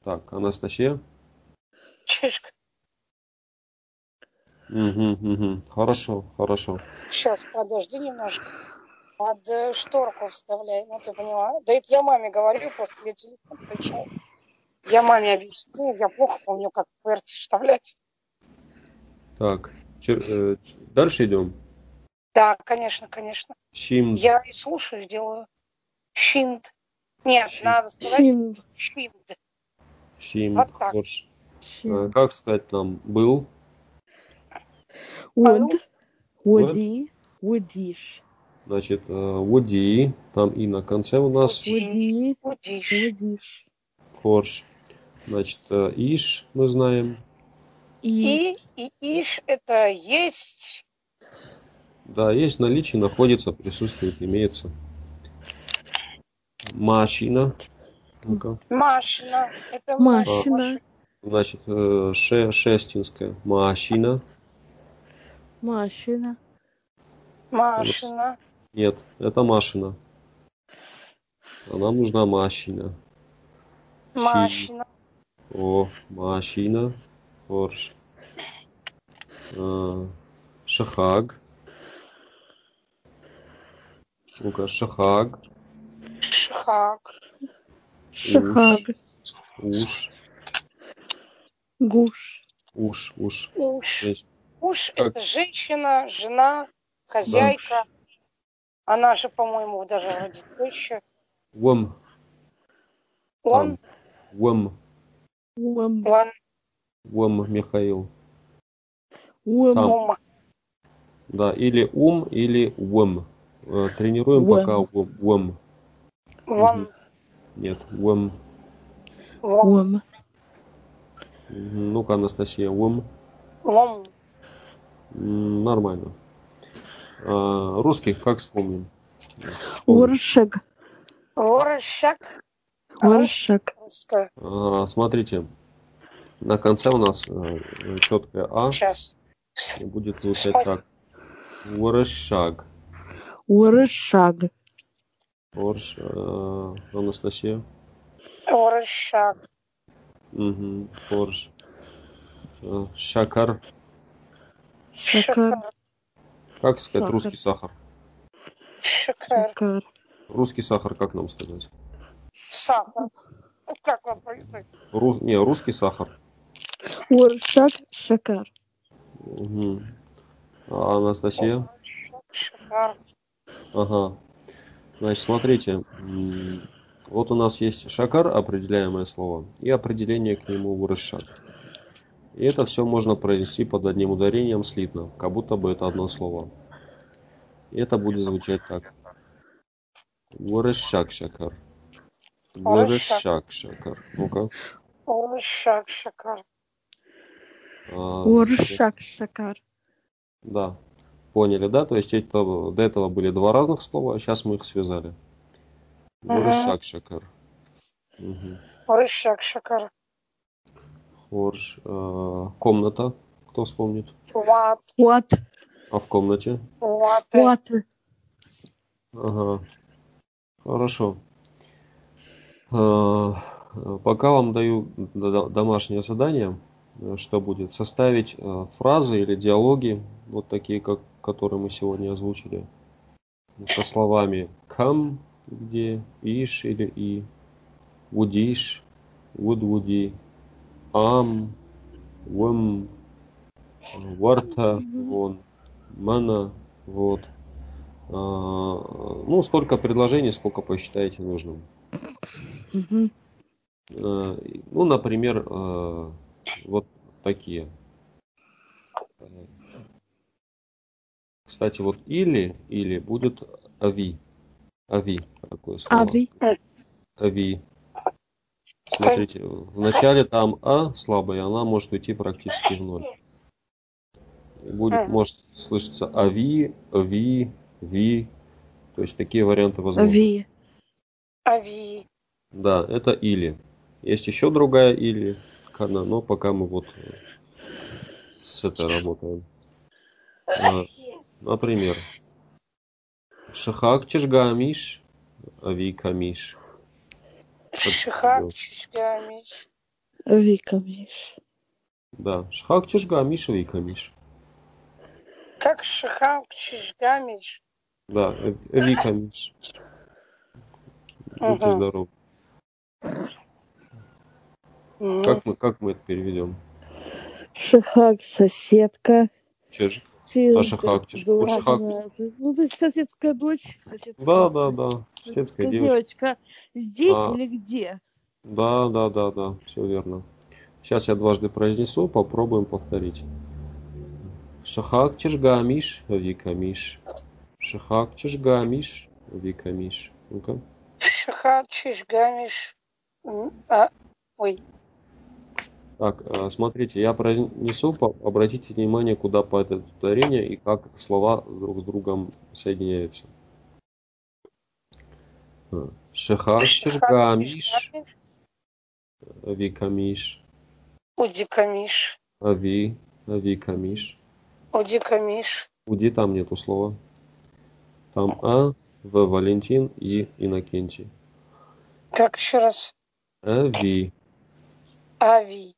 [SPEAKER 1] Так, Анастасия.
[SPEAKER 3] Чижик.
[SPEAKER 1] Угу, угу. Хорошо, хорошо.
[SPEAKER 3] Сейчас, подожди немножко. Под э, шторку вставляй, ну ты поняла? Да это я маме говорю, после я телефон включаю. Я маме объясню, я плохо помню, как ПРТ вставлять.
[SPEAKER 1] Так. Чир- э, ч- Дальше идем.
[SPEAKER 3] Да, конечно, конечно.
[SPEAKER 1] Щим.
[SPEAKER 3] Я и слушаю, делаю. Щинд. Нет,
[SPEAKER 1] Щинд.
[SPEAKER 3] надо сказать
[SPEAKER 2] Чин.
[SPEAKER 3] щинд.
[SPEAKER 1] Щим.
[SPEAKER 3] вот так.
[SPEAKER 1] Хорош. Э,
[SPEAKER 2] Чин.
[SPEAKER 1] Как сказать там? Был.
[SPEAKER 2] Und.
[SPEAKER 1] Вот.
[SPEAKER 2] Уди. Удиш.
[SPEAKER 1] Значит, э, Води, там и на конце у нас
[SPEAKER 3] Уди.
[SPEAKER 2] Уди.
[SPEAKER 3] Удиш.
[SPEAKER 2] Удиш.
[SPEAKER 1] Корж. Значит, э, Иш мы знаем.
[SPEAKER 2] И.
[SPEAKER 3] И, и иш это есть.
[SPEAKER 1] Да, есть наличие, находится, присутствует, имеется. Машина. Ну-ка.
[SPEAKER 3] Машина. Это
[SPEAKER 2] Машина.
[SPEAKER 1] Значит, э, ше, шестинская. Машина.
[SPEAKER 2] Машина.
[SPEAKER 3] Машина.
[SPEAKER 1] Нет, это машина. А Нам нужна машина. Щи.
[SPEAKER 3] Машина.
[SPEAKER 1] О, машина. Корж. Э, Шахаг. Ну-ка, шахаг.
[SPEAKER 3] Шхак.
[SPEAKER 2] Шахаг.
[SPEAKER 1] Уж.
[SPEAKER 2] Гуш.
[SPEAKER 1] Уж, уж.
[SPEAKER 3] Уж.
[SPEAKER 1] То есть
[SPEAKER 3] Муж
[SPEAKER 1] Так.
[SPEAKER 3] это женщина, жена, хозяйка. Она же, по-моему, даже вроде теща.
[SPEAKER 1] Вом,
[SPEAKER 3] Он,
[SPEAKER 1] Вом,
[SPEAKER 2] Уэм.
[SPEAKER 3] он,
[SPEAKER 1] Вом, Михаил.
[SPEAKER 2] Уэм.
[SPEAKER 1] Там.
[SPEAKER 3] ум.
[SPEAKER 1] Да, или ум, или Вом. Э, Тренируем
[SPEAKER 2] Вом.
[SPEAKER 1] пока Вом. Вом.
[SPEAKER 3] Вон,
[SPEAKER 1] Нет, Вом.
[SPEAKER 3] вон,
[SPEAKER 2] Уэм.
[SPEAKER 1] Мгм, Ну-ка, Анастасия, Вом.
[SPEAKER 3] вон.
[SPEAKER 1] М, Нормально. А, Русских как вспомним? Вспомним.
[SPEAKER 2] Уэршек.
[SPEAKER 3] Ворощак.
[SPEAKER 2] Уэршек.
[SPEAKER 3] Русская.
[SPEAKER 1] А, Смотрите, на конце у нас э, четкое А
[SPEAKER 3] Сейчас.
[SPEAKER 1] и будет звучать так. Ворошаг.
[SPEAKER 2] Уэршаг.
[SPEAKER 1] Орш, э, Анастасия.
[SPEAKER 3] Ворощак.
[SPEAKER 1] Угу, Орш. Э, Шакар.
[SPEAKER 2] Шакар.
[SPEAKER 3] Шикар.
[SPEAKER 1] Как сказать
[SPEAKER 2] Сахар.
[SPEAKER 1] русский сахар?
[SPEAKER 3] Шикар.
[SPEAKER 2] Шакар.
[SPEAKER 1] Русский сахар, как нам сказать?
[SPEAKER 3] Сахар. Ну, Как он происходит?
[SPEAKER 1] Ру- Не, русский сахар.
[SPEAKER 2] Уэршак. Шакар.
[SPEAKER 1] Мгм. А, Анастасия.
[SPEAKER 3] Шикар.
[SPEAKER 1] Ага. Значит, смотрите. м, Вот у нас есть шакар, определяемое слово, и определение к нему выросшак. И это все можно произнести под одним ударением слитно, как будто бы это одно слово. И это будет звучать так. Выросшак шакар. Выросшак шакар. Ну-ка.
[SPEAKER 3] Ворощак. Шикар.
[SPEAKER 1] А,
[SPEAKER 2] Уэршак. Шакар.
[SPEAKER 1] Да. Поняли, да? То есть это, до этого были два разных слова, а сейчас мы их связали.
[SPEAKER 3] Ага.
[SPEAKER 1] Выросшак шакар. Мгм.
[SPEAKER 3] Ворощак. Шикар.
[SPEAKER 1] Хорж, э, комната, кто вспомнит?
[SPEAKER 3] Ват. э,
[SPEAKER 2] Уат.
[SPEAKER 1] А в комнате?
[SPEAKER 3] Ваты.
[SPEAKER 2] Уат.
[SPEAKER 1] Ага. Хорошо. Э, Пока вам даю д- д- домашнее задание, э, что будет составить э, фразы или диалоги, вот такие, как которые мы сегодня озвучили, со словами come, где иш или и, would вудвуди, ам, вэм, варта, вон, мана, вот. А, Ну, столько предложений, сколько посчитаете нужным.
[SPEAKER 2] Мгм.
[SPEAKER 1] Э, и- Ну, например, э, вот такие. Э, Кстати, вот или, или будет ави. Ави, такое слово.
[SPEAKER 2] Ави.
[SPEAKER 1] Ави. Смотрите, в начале там А слабая, она может уйти практически в ноль. И Будет,
[SPEAKER 3] Мгм.
[SPEAKER 1] может слышаться ави, ви, ви. То есть такие варианты возможны.
[SPEAKER 2] Ви.
[SPEAKER 3] Ави.
[SPEAKER 1] Да, это или. Есть еще другая или она, но пока мы вот э, с этой работаем. А, Например, Шахак Чижгамиш, Авикамиш.
[SPEAKER 3] Шихак, чичка, меч.
[SPEAKER 2] Вика, видишь.
[SPEAKER 1] Да, Шахак Чижгамиш, Авикамиш.
[SPEAKER 3] Как шихак, чичка, меч.
[SPEAKER 1] Да, э- Авикамиш. Будьте
[SPEAKER 3] Ага.
[SPEAKER 1] здоровы.
[SPEAKER 3] Мгм.
[SPEAKER 1] Как мы, как мы это переведем?
[SPEAKER 2] Шахак, соседка.
[SPEAKER 1] Чиж?
[SPEAKER 2] Чиж-
[SPEAKER 1] А шахак, чиж-
[SPEAKER 2] дура,
[SPEAKER 1] вот шахак.
[SPEAKER 2] да, ты- Ну, то есть соседская дочь. Соседская,
[SPEAKER 1] Да, да, да.
[SPEAKER 2] соседская
[SPEAKER 1] Светская девочка.
[SPEAKER 2] девочка. Здесь
[SPEAKER 1] А.
[SPEAKER 2] или где?
[SPEAKER 1] Да, да, да, да, все верно. Сейчас я дважды произнесу, попробуем повторить. Шахак чижгамиш, викамиш. Шахак чижгамиш, викамиш. Ну-ка.
[SPEAKER 3] Шихак, чичка, меч. М, а, Ой,
[SPEAKER 1] Так, э, смотрите, я произнесу, по- обратите внимание, куда падает ударение и как слова друг с другом соединяются. Э, Шахак
[SPEAKER 3] шихак,
[SPEAKER 1] чижгамиш,
[SPEAKER 3] чичка, меч.
[SPEAKER 1] викамиш.
[SPEAKER 3] Удикамиш.
[SPEAKER 1] Ави, викамиш.
[SPEAKER 3] Удикамиш.
[SPEAKER 1] Уди там нету слова. Там А, В, Валентин и Иннокентий.
[SPEAKER 3] Как еще раз?
[SPEAKER 1] А, Ви.
[SPEAKER 3] Ави.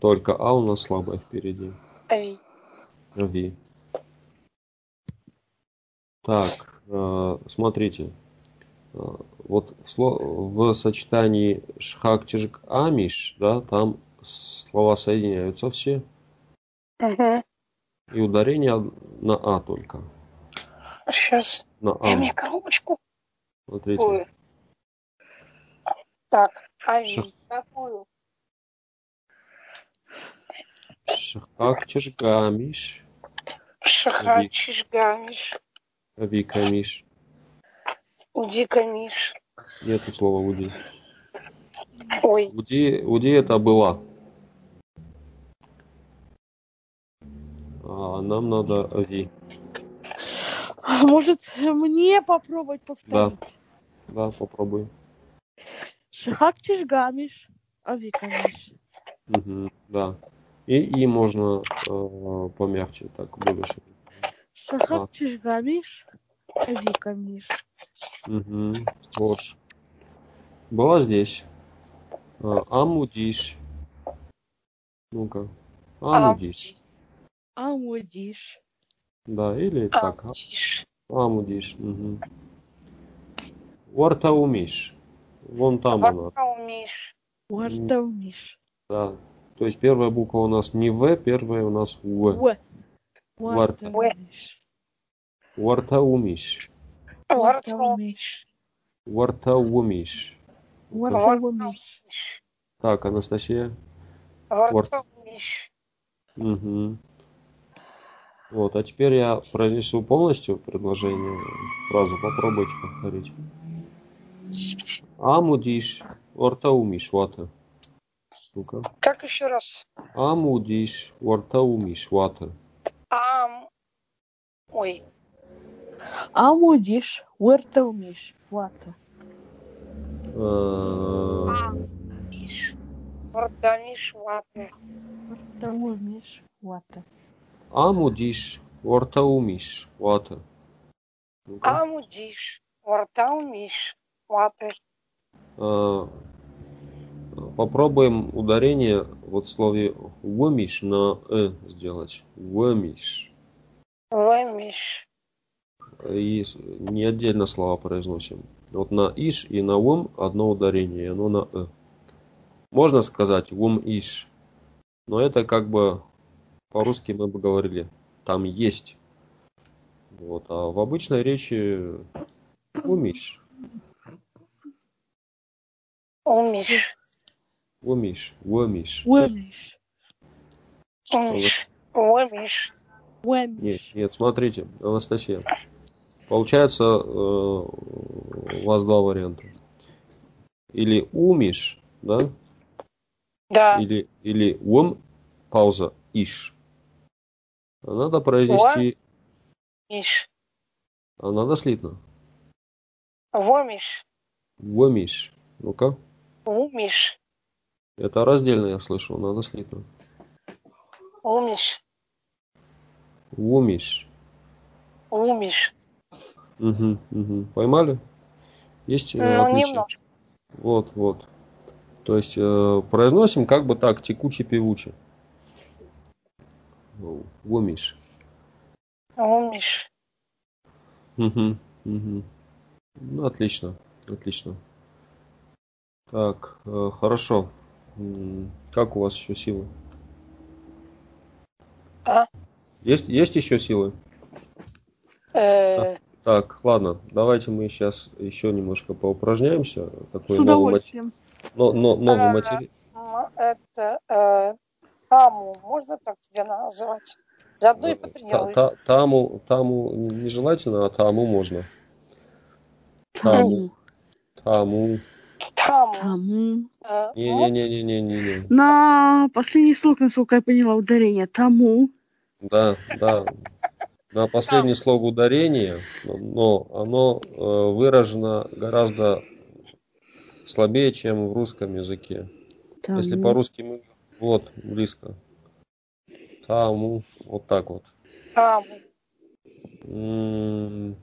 [SPEAKER 1] Только А у нас слабая впереди. Э,
[SPEAKER 3] Ави.
[SPEAKER 1] Ви. Так, э, смотрите. Э, Вот в, сло- в сочетании шхак чижик амиш, да, там слова соединяются все,
[SPEAKER 3] Угу.
[SPEAKER 1] и ударение од- на А только.
[SPEAKER 3] Сейчас.
[SPEAKER 1] На
[SPEAKER 3] Дай
[SPEAKER 1] А.
[SPEAKER 3] мне коробочку.
[SPEAKER 1] Смотрите.
[SPEAKER 3] Ой. Так, ави.
[SPEAKER 1] Шах.
[SPEAKER 3] Какую?
[SPEAKER 1] Шхак чижик амиш, Ави.
[SPEAKER 3] Шахачиш гамиш.
[SPEAKER 1] «Э, ви камиш.
[SPEAKER 3] Удикамиш.
[SPEAKER 1] Нету слова уди.
[SPEAKER 3] Ой.
[SPEAKER 1] Уди, Уди это была. А нам надо Ави.
[SPEAKER 2] А Может, мне попробовать повторить?
[SPEAKER 1] Да, попробуй.
[SPEAKER 2] Шахак Чижгамиш. А Вика, Миш.
[SPEAKER 1] Мгм, да. И, и можно э, помягче, так больше.
[SPEAKER 2] Шахак
[SPEAKER 1] А.
[SPEAKER 2] Чижгамиш. А Вика, Миш.
[SPEAKER 1] Угу. Ложь. Была здесь. А, амудиш. Ну-ка. Амудиш.
[SPEAKER 2] Амудиш.
[SPEAKER 1] Да, или так. а-
[SPEAKER 3] Амудиш.
[SPEAKER 1] Амудиш. Угу. Вартаумиш. Вон там она.
[SPEAKER 3] Вакаумиш.
[SPEAKER 2] Уартаумиш.
[SPEAKER 1] Да. То есть первая буква у нас не В, первая у нас В.
[SPEAKER 2] Уэ.
[SPEAKER 1] Уарта.
[SPEAKER 2] Уартаумиш.
[SPEAKER 1] Вартаумиш.
[SPEAKER 3] Вартаумиш.
[SPEAKER 1] Вартаумиш.
[SPEAKER 2] Уартаумиш. Уартаумиш.
[SPEAKER 1] Так, Анастасия.
[SPEAKER 3] Вартаумиш.
[SPEAKER 1] Мгм. Вот, а теперь я произнесу полностью предложение, фразу попробуйте повторить. Амудиш, вартаумиш, вата. Ну-ка.
[SPEAKER 3] Как еще раз?
[SPEAKER 1] Амудиш, вартаумиш, вата.
[SPEAKER 3] Ам. Ой.
[SPEAKER 2] Амудиш. Уартаумиш. Вата.
[SPEAKER 1] Э,
[SPEAKER 3] Иш. Вартамиш. Вата.
[SPEAKER 2] Уартаумиш. Вата.
[SPEAKER 1] Амудиш, вартаумиш, вата. Ну-ка.
[SPEAKER 3] Амудиш. Вартаумиш. Вата.
[SPEAKER 1] А, Попробуем ударение вот в слове «вымиш» на «э» сделать. «Вымиш».
[SPEAKER 3] Вэмиш.
[SPEAKER 1] И с- не отдельно слова произносим. Вот на «иш» и на «вым» одно ударение, и оно на «э». Можно сказать «вым-иш», но это как бы по-русски мы бы говорили «там есть». Вот, а в обычной речи «вымиш»,
[SPEAKER 3] Умиш.
[SPEAKER 1] «вымиш», «вымиш».
[SPEAKER 2] Уэмиш.
[SPEAKER 3] Умиш. Умиш.
[SPEAKER 1] Нет,
[SPEAKER 2] Уэмиш.
[SPEAKER 1] нет, смотрите, Анастасия. Получается, э, у вас два варианта. Или умиш, да?
[SPEAKER 3] Да.
[SPEAKER 1] Или, или ум, пауза, иш. А Надо произнести,
[SPEAKER 3] Миш.
[SPEAKER 1] а надо слитно.
[SPEAKER 3] Вомиш.
[SPEAKER 1] Умиш. Ну-ка.
[SPEAKER 3] Умиш,
[SPEAKER 1] Это раздельно я слышал, надо слитно.
[SPEAKER 3] умиш,
[SPEAKER 1] Умиш.
[SPEAKER 3] умиш.
[SPEAKER 1] Мгм, мгм. Поймали? Есть э,
[SPEAKER 3] Ну,
[SPEAKER 1] отличие?
[SPEAKER 3] немножко.
[SPEAKER 1] Вот, вот. То есть э, произносим как бы так, текуче-певуче. Ну, Умиш.
[SPEAKER 3] Умиш.
[SPEAKER 1] Угу, угу. Ну, отлично, отлично. Так, э, хорошо. М, Как у вас еще силы?
[SPEAKER 3] А?
[SPEAKER 1] Есть, есть еще силы?
[SPEAKER 3] Э,
[SPEAKER 1] Так, ладно, давайте мы сейчас еще немножко поупражняемся. Такой новый,
[SPEAKER 2] С
[SPEAKER 1] мат-
[SPEAKER 2] удовольствием.
[SPEAKER 1] но- но- новый
[SPEAKER 3] А.
[SPEAKER 1] матери-
[SPEAKER 3] м, это э, Аму, можно так тебя называть? Заодно и
[SPEAKER 1] Та- та-
[SPEAKER 3] потренируйся.
[SPEAKER 1] Таму, таму нежелательно, а таму можно. Таму, таму.
[SPEAKER 2] Тому,
[SPEAKER 3] Там.
[SPEAKER 2] тому.
[SPEAKER 3] э, м,
[SPEAKER 1] Не-не-не-не-не-не.
[SPEAKER 2] На последний слог, насколько я поняла, ударение. Тому.
[SPEAKER 1] Да, да. На последний слог ударения, но оно э, выражено гораздо слабее, чем в русском языке.
[SPEAKER 2] тому.
[SPEAKER 1] Если по-русски мы... Вот, близко. Таму, вот так вот.
[SPEAKER 3] Аму.
[SPEAKER 1] М, М-м-м.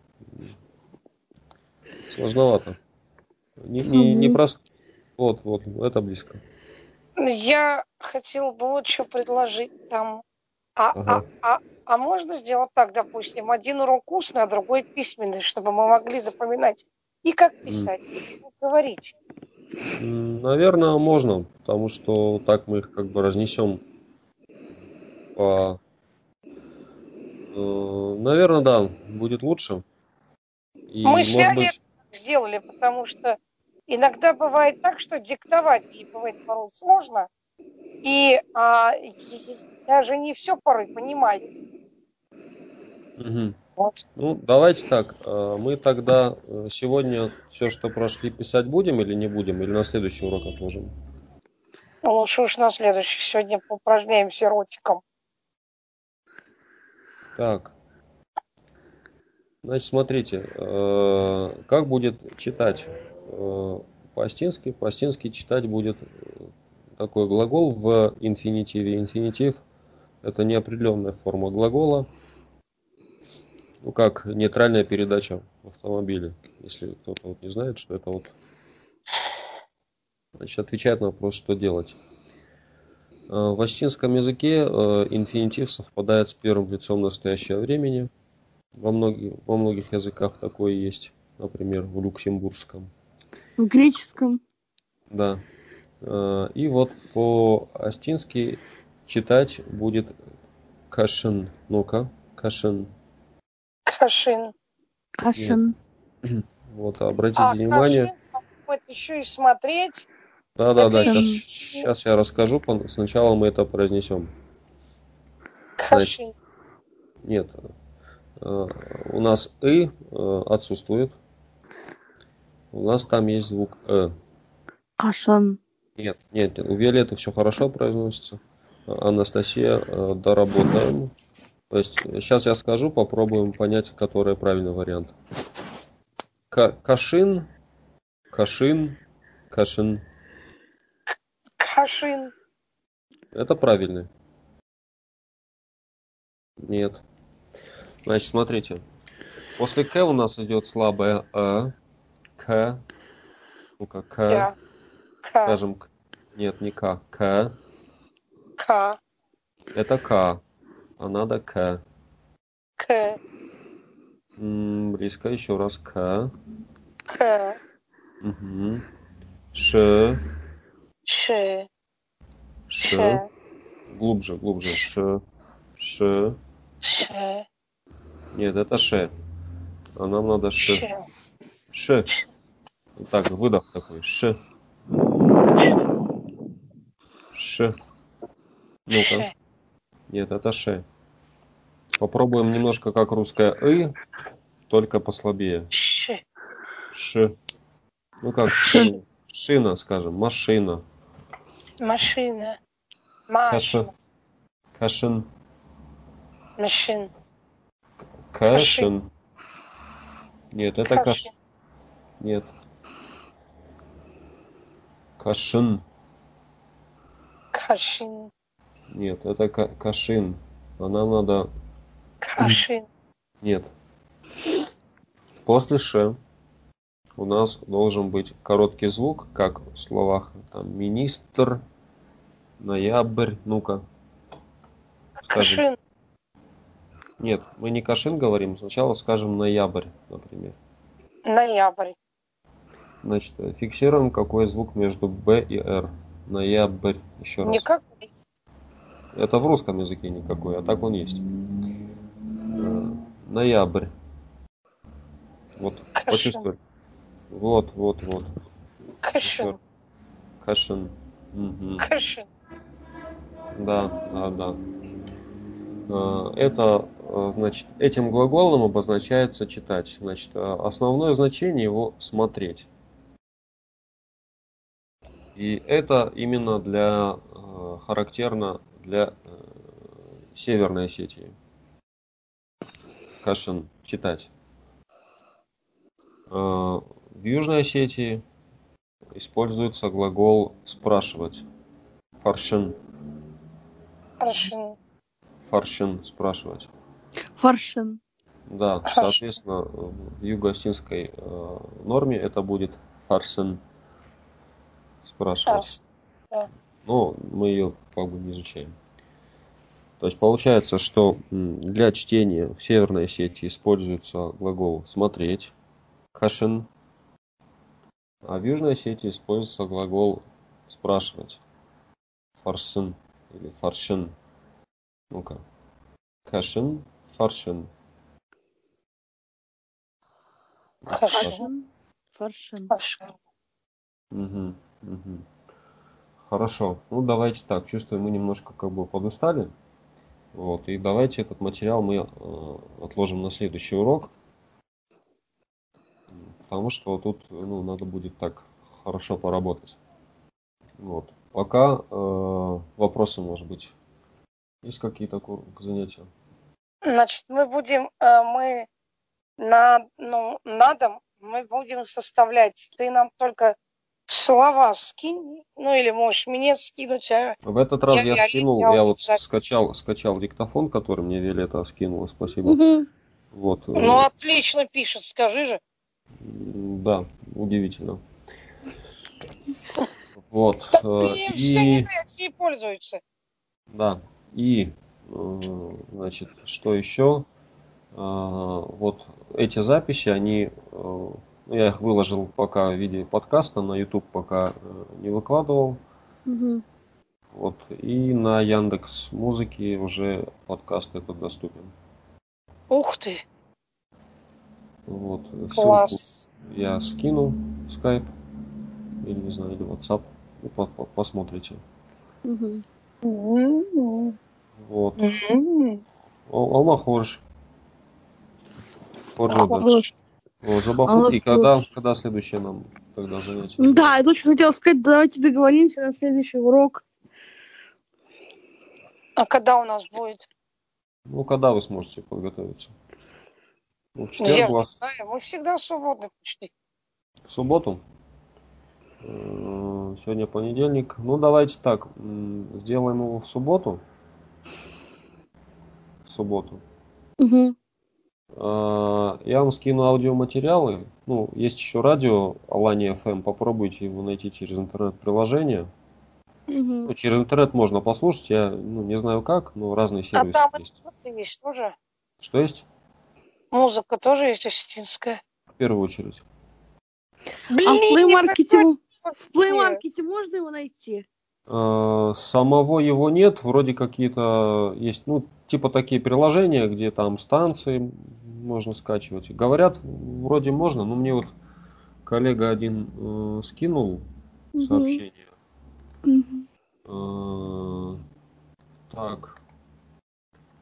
[SPEAKER 1] Сложновато. Не, не, не
[SPEAKER 2] Мгм.
[SPEAKER 1] прост- Вот, вот, это близко.
[SPEAKER 3] Ну, Я хотел бы вот что предложить там. А,
[SPEAKER 1] Ага.
[SPEAKER 3] а, а, а можно сделать так, допустим, один урок устный, а другой письменный, чтобы мы могли запоминать и как писать, и как говорить.
[SPEAKER 1] Наверное, можно, потому что так мы их как бы разнесем по... Наверное, да, будет лучше. И,
[SPEAKER 3] Мы с
[SPEAKER 1] может быть,
[SPEAKER 3] Сделали, потому что иногда бывает так, что диктовать ей бывает порой сложно, и а, и- и я же не все порой понимаю.
[SPEAKER 1] мгм.
[SPEAKER 3] Вот.
[SPEAKER 1] Ну, давайте так. э, Мы тогда э, сегодня все, что прошли, писать будем или не будем, или на следующий урок отложим?
[SPEAKER 3] Ну, Лучше уж на следующий. Сегодня поупражняемся ротиком.
[SPEAKER 1] Так. Значит, смотрите, э, как будет читать э, по-астински? По-астински читать будет э, такой глагол в инфинитиве. Инфинитив – это неопределенная форма глагола. Ну, как нейтральная передача в автомобиле. Если кто-то вот не знает, что это вот. Значит, отвечает на вопрос, что делать. Э, В астинском языке э, инфинитив совпадает с первым лицом настоящего времени. Во многих, во многих языках такое есть. Например, в люксембургском.
[SPEAKER 2] В греческом.
[SPEAKER 1] Да. Э, И вот по-астински читать будет кашин. Ну-ка, кашин.
[SPEAKER 3] Кашин.
[SPEAKER 2] Кашин.
[SPEAKER 1] Вот, обратите
[SPEAKER 3] А
[SPEAKER 1] внимание.
[SPEAKER 3] кашин вот еще и смотреть.
[SPEAKER 1] Да, да, да,
[SPEAKER 2] Это-
[SPEAKER 1] сейчас, сейчас я расскажу. пон- Сначала мы это произнесем.
[SPEAKER 3] Кашин.
[SPEAKER 1] Нет. Э, У нас и э, отсутствует. У нас там есть звук э.
[SPEAKER 2] Кашан.
[SPEAKER 1] Нет, нет, нет, у Виолетты все хорошо произносится. А- Анастасия, э, доработаем. То есть сейчас я скажу, попробуем понять, который правильный вариант. Ка- кашин, кашин, кашин.
[SPEAKER 3] Кашин.
[SPEAKER 1] Это правильный. Нет. Значит, смотрите. После К у нас идет слабое Э. К. Ну-ка, К.
[SPEAKER 3] Да. Ка.
[SPEAKER 1] Скажем, К. Нет, не К. а К.
[SPEAKER 3] Ка.
[SPEAKER 1] Это К. А надо К.
[SPEAKER 3] К.
[SPEAKER 1] М, близко еще раз К.
[SPEAKER 3] К.
[SPEAKER 1] Мгм. Ш.
[SPEAKER 3] Ш.
[SPEAKER 1] Ш.
[SPEAKER 3] Ш.
[SPEAKER 1] Глубже, глубже. Ш. Ш.
[SPEAKER 3] Ш.
[SPEAKER 1] Нет, это Ш. А нам надо Ш.
[SPEAKER 3] Ш.
[SPEAKER 1] Ш. Вот Так, выдох такой. Ш. Ш. Ну-ка.
[SPEAKER 3] Ш.
[SPEAKER 1] Нет, это Ш. Попробуем немножко как русское И, только послабее.
[SPEAKER 3] Ш.
[SPEAKER 1] Ш. Ну как,
[SPEAKER 2] Ш.
[SPEAKER 1] шина, скажем, машина.
[SPEAKER 3] Машина. Машина.
[SPEAKER 1] Каша. Кашин.
[SPEAKER 3] Машин.
[SPEAKER 1] Кашин. Нет, это каш.
[SPEAKER 3] Кашин.
[SPEAKER 1] Нет. Кашин.
[SPEAKER 3] Кашин.
[SPEAKER 1] Нет, это Ка- Кашин. А нам надо...
[SPEAKER 3] Кашин.
[SPEAKER 1] Нет. После Ш у нас должен быть короткий звук, как в словах там министр, ноябрь. Ну-ка. Скажи.
[SPEAKER 3] Кашин.
[SPEAKER 1] Нет, мы не Кашин говорим, сначала скажем ноябрь, например.
[SPEAKER 3] Ноябрь.
[SPEAKER 1] Значит, э, фиксируем, какой звук между Б и Р. Ноябрь. Еще раз.
[SPEAKER 3] Никак.
[SPEAKER 1] Это в русском языке никакой, а так он есть. Э, Ноябрь. Вот,
[SPEAKER 3] Кашин.
[SPEAKER 1] почувствуй. Вот, вот, вот.
[SPEAKER 3] Кашин.
[SPEAKER 1] Кашин. Мгм.
[SPEAKER 3] Кашин.
[SPEAKER 1] Да, да, да. Э, Это, э, значит, этим глаголом обозначается читать. Значит, э, основное значение его смотреть. И это именно для э, характерно для э, Северной Осетии. Кашин читать. Э, В Южной Осетии используется глагол спрашивать. Фаршин.
[SPEAKER 3] Кашин.
[SPEAKER 1] Фаршин спрашивать.
[SPEAKER 2] Фаршин.
[SPEAKER 1] Да,
[SPEAKER 3] Фаршин.
[SPEAKER 1] соответственно, в юго-осетинской э, норме это будет фарсен спрашивать.
[SPEAKER 3] Кашин.
[SPEAKER 1] Но мы ее как бы не изучаем. То есть получается, что м, для чтения в Северной Осетии используется глагол «смотреть» – «кашин», а в Южной Осетии используется глагол «спрашивать» – «фарсын» или «фаршин». Ну-ка. «Кашин», «фаршин».
[SPEAKER 3] Кашин.
[SPEAKER 2] Фаршин. Фаршин.
[SPEAKER 3] Кашин.
[SPEAKER 1] Мгм, мгм. Хорошо. Ну, давайте так. Чувствую, мы немножко как бы подустали. Вот. И давайте этот материал мы э, отложим на следующий урок. Потому что тут ну, надо будет так хорошо поработать. Вот. Пока э, вопросы, может быть, есть какие-то к ур- к занятию?
[SPEAKER 3] Значит, мы будем, э, мы на, ну, на дом мы будем составлять. Ты нам только слова скинь, ну или можешь мне скинуть, а
[SPEAKER 1] В этот раз
[SPEAKER 3] Я-
[SPEAKER 1] я,
[SPEAKER 3] я-
[SPEAKER 1] скинул,
[SPEAKER 3] я
[SPEAKER 1] я
[SPEAKER 3] вот
[SPEAKER 1] вот
[SPEAKER 3] запись.
[SPEAKER 1] скачал, скачал диктофон, который мне Виолетта скинула. Спасибо.
[SPEAKER 2] Мгм.
[SPEAKER 1] Вот. э,
[SPEAKER 3] ну отлично пишет, скажи же.
[SPEAKER 1] М, Да, удивительно. Вот.
[SPEAKER 3] Да
[SPEAKER 1] э,
[SPEAKER 3] ты все
[SPEAKER 1] И,
[SPEAKER 3] не пользуются.
[SPEAKER 1] да, и, э, значит, что еще? Э, Вот эти записи, они, э, я их выложил пока в виде подкаста, на YouTube пока э, не выкладывал.
[SPEAKER 2] Мгм.
[SPEAKER 1] Вот, и на Яндекс Музыке уже подкаст этот доступен.
[SPEAKER 3] Ух ты,
[SPEAKER 1] Вот, ссылку
[SPEAKER 3] класс.
[SPEAKER 1] я скину в Skype, или не знаю, или WhatsApp, Ну, по- по- посмотрите.
[SPEAKER 2] Мгм.
[SPEAKER 3] М-м.
[SPEAKER 1] Вот.
[SPEAKER 3] М-м.
[SPEAKER 1] О- Алла Хорж. Хорж, да.
[SPEAKER 2] Вот.
[SPEAKER 1] Вот, забавно.
[SPEAKER 2] Алла
[SPEAKER 1] И когда, когда следующее нам тогда занятие?
[SPEAKER 2] Да, я очень хотела сказать, давайте договоримся на следующий урок.
[SPEAKER 3] А когда у нас будет?
[SPEAKER 1] Ну, когда вы сможете подготовиться? Ну, в
[SPEAKER 3] Я
[SPEAKER 1] четверг у
[SPEAKER 3] не
[SPEAKER 1] вас,
[SPEAKER 3] знаю, мы всегда свободны почти.
[SPEAKER 1] в субботу? Э, Сегодня понедельник. Ну, давайте так, м, сделаем его в субботу. В субботу.
[SPEAKER 2] Мгм.
[SPEAKER 1] Э, Я вам скину аудиоматериалы. Ну, есть еще радио Алания FM. Попробуйте его найти через интернет-приложение.
[SPEAKER 2] Мгм.
[SPEAKER 1] Ну, через интернет можно послушать, я ну, не знаю как, но разные сервисы
[SPEAKER 3] А там
[SPEAKER 1] есть.
[SPEAKER 3] Музыка есть тоже.
[SPEAKER 1] Что есть?
[SPEAKER 3] Музыка тоже есть осетинская.
[SPEAKER 1] В первую очередь.
[SPEAKER 2] А в плеймаркете, мо- в
[SPEAKER 3] В
[SPEAKER 2] плеймаркете можно его найти?
[SPEAKER 1] Э, Самого его нет, вроде какие-то есть, ну, типа такие приложения, где там станции можно скачивать. Говорят, вроде можно, но мне вот коллега один э, скинул
[SPEAKER 2] Мгм.
[SPEAKER 1] сообщение.
[SPEAKER 2] Мгм.
[SPEAKER 1] Э, Так,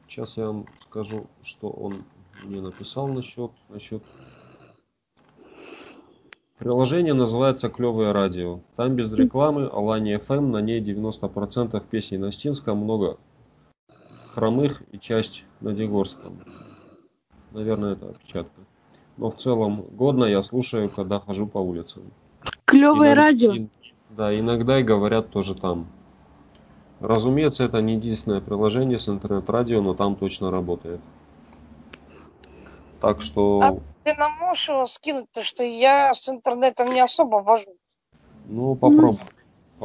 [SPEAKER 1] сейчас я вам скажу, что он мне написал насчет, насчет. Приложение называется «Клевое радио». Там без рекламы, Алания FM, на ней 90% песней на Стинском, много хромых и часть на Дегорском. Наверное, это опечатка. Но в целом годно я слушаю, когда хожу по улицам. И
[SPEAKER 2] Клевое
[SPEAKER 1] на-
[SPEAKER 2] радио.
[SPEAKER 1] и- Да, иногда и говорят тоже там. Разумеется, это не единственное приложение с интернет-радио, но там точно работает. Так что...
[SPEAKER 3] А- Ты нам можешь его скинуть, потому что я с интернетом не особо вожу.
[SPEAKER 1] Ну, попробуй.
[SPEAKER 2] я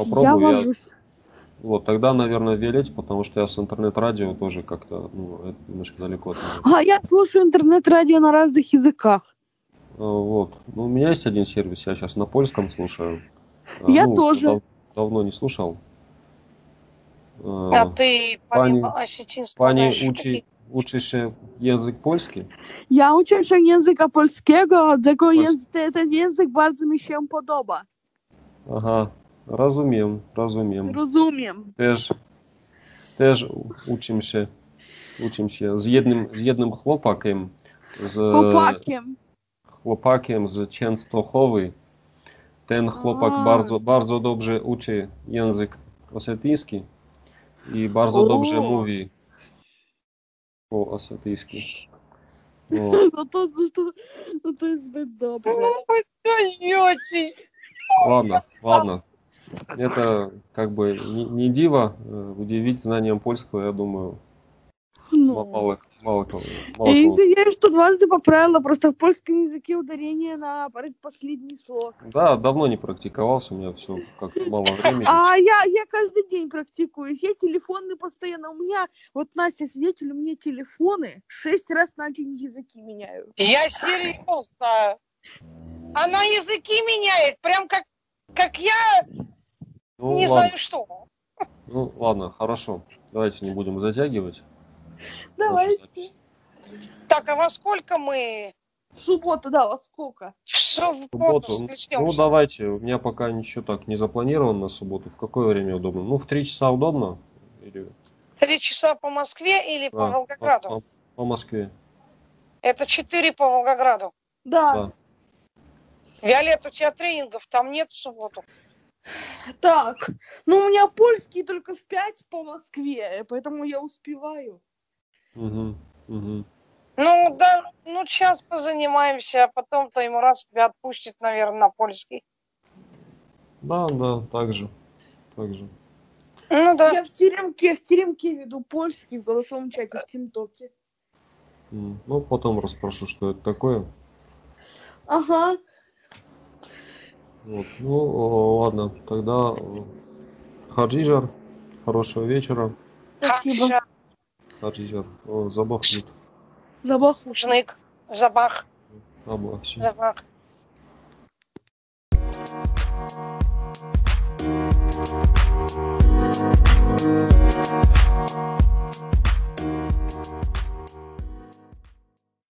[SPEAKER 1] Попробуй. я-
[SPEAKER 2] вожусь.
[SPEAKER 1] Вот, тогда, наверное, велеть, потому что я с интернет-радио тоже как-то, ну, это немножко далеко от меня.
[SPEAKER 2] А я слушаю интернет-радио на разных языках.
[SPEAKER 1] Э, Вот. Ну, у меня есть один сервис, я сейчас на польском слушаю. Э,
[SPEAKER 2] Я
[SPEAKER 1] ну,
[SPEAKER 2] тоже.
[SPEAKER 1] дав- давно не слушал. Э,
[SPEAKER 3] А ты
[SPEAKER 1] Пани-
[SPEAKER 3] помимо осетинского
[SPEAKER 1] Пани,
[SPEAKER 3] знаешь,
[SPEAKER 1] учи,
[SPEAKER 3] какие-
[SPEAKER 1] учишь э, язык польский?
[SPEAKER 2] Ja uczę się języka polskiego, tego
[SPEAKER 1] Polski-
[SPEAKER 2] język, ten język bardzo mi się podoba.
[SPEAKER 1] Ага, разумеем, разумеем.
[SPEAKER 2] Rozumiem.
[SPEAKER 1] Теж, теж у- учимся, учимся. З jednym, з jednym chłopakiem, z
[SPEAKER 2] *laughs* Chłopakiem.
[SPEAKER 1] chłopakiem z Częstochowy. Ten chłopak
[SPEAKER 2] A.
[SPEAKER 1] bardzo, bardzo dobrze uczy język osetyjski i bardzo
[SPEAKER 2] O.
[SPEAKER 1] dobrze mówi po osetyjsku. No,
[SPEAKER 2] No to, no to, no to jest zbyt dobrze.
[SPEAKER 3] Ну, вы даете.
[SPEAKER 1] ладно, ладно. Это как бы не, не диво, э, удивить знанием польского, я думаю,
[SPEAKER 3] Ну.
[SPEAKER 1] м-
[SPEAKER 2] No.
[SPEAKER 1] мало, мало кого. мало
[SPEAKER 2] Я
[SPEAKER 1] кого.
[SPEAKER 2] извиняюсь, что дважды поправила, просто в польском языке ударение на последний слог.
[SPEAKER 1] Да, давно не практиковался, у меня все как мало времени.
[SPEAKER 2] А я, я каждый день практикуюсь, я телефонный постоянно, у меня, вот Настя свидетель, у меня телефоны шесть раз на день языки меняю.
[SPEAKER 3] Я серьезно. Она языки меняет, прям как, как я
[SPEAKER 1] Ну,
[SPEAKER 3] не
[SPEAKER 1] ладно,
[SPEAKER 3] знаю что.
[SPEAKER 1] ну ладно, хорошо. Давайте не будем затягивать. нашу
[SPEAKER 2] Давайте.
[SPEAKER 1] запись.
[SPEAKER 3] Так, а во сколько мы
[SPEAKER 2] В субботу, да, во сколько?
[SPEAKER 3] в субботу
[SPEAKER 1] субботу.
[SPEAKER 3] начнем?
[SPEAKER 1] Ну, давайте. У меня пока ничего так не запланировано на субботу. В какое время удобно? Ну, в три часа удобно? Или-
[SPEAKER 3] Три часа по Москве или по
[SPEAKER 1] Да,
[SPEAKER 3] Волгограду?
[SPEAKER 1] А, по- по Москве.
[SPEAKER 3] Это четыре по Волгограду.
[SPEAKER 2] Да.
[SPEAKER 3] Виолетта, у тебя тренингов там нет в субботу?
[SPEAKER 2] Так, ну у меня польский только в пять по Москве, поэтому я успеваю.
[SPEAKER 1] Мгм, мгм.
[SPEAKER 3] Ну, да, ну, сейчас позанимаемся, а потом-то ему раз тебя отпустит, наверное, на польский.
[SPEAKER 1] Да, да, так же. Так же.
[SPEAKER 3] Ну, да.
[SPEAKER 2] Я в теремке, в теремке веду польский в голосовом чате в ТимТоке.
[SPEAKER 1] М, Ну, потом расспрошу, что это такое.
[SPEAKER 2] Ага.
[SPEAKER 1] Вот. Ну, о, ладно. Тогда э, Хаджижар. Хорошего вечера.
[SPEAKER 2] Спасибо.
[SPEAKER 3] Ха, ща,
[SPEAKER 1] Хаджижар. О, Забахнет.
[SPEAKER 2] Забаху.
[SPEAKER 3] шнык, забах,
[SPEAKER 1] Забахнет.
[SPEAKER 3] забах.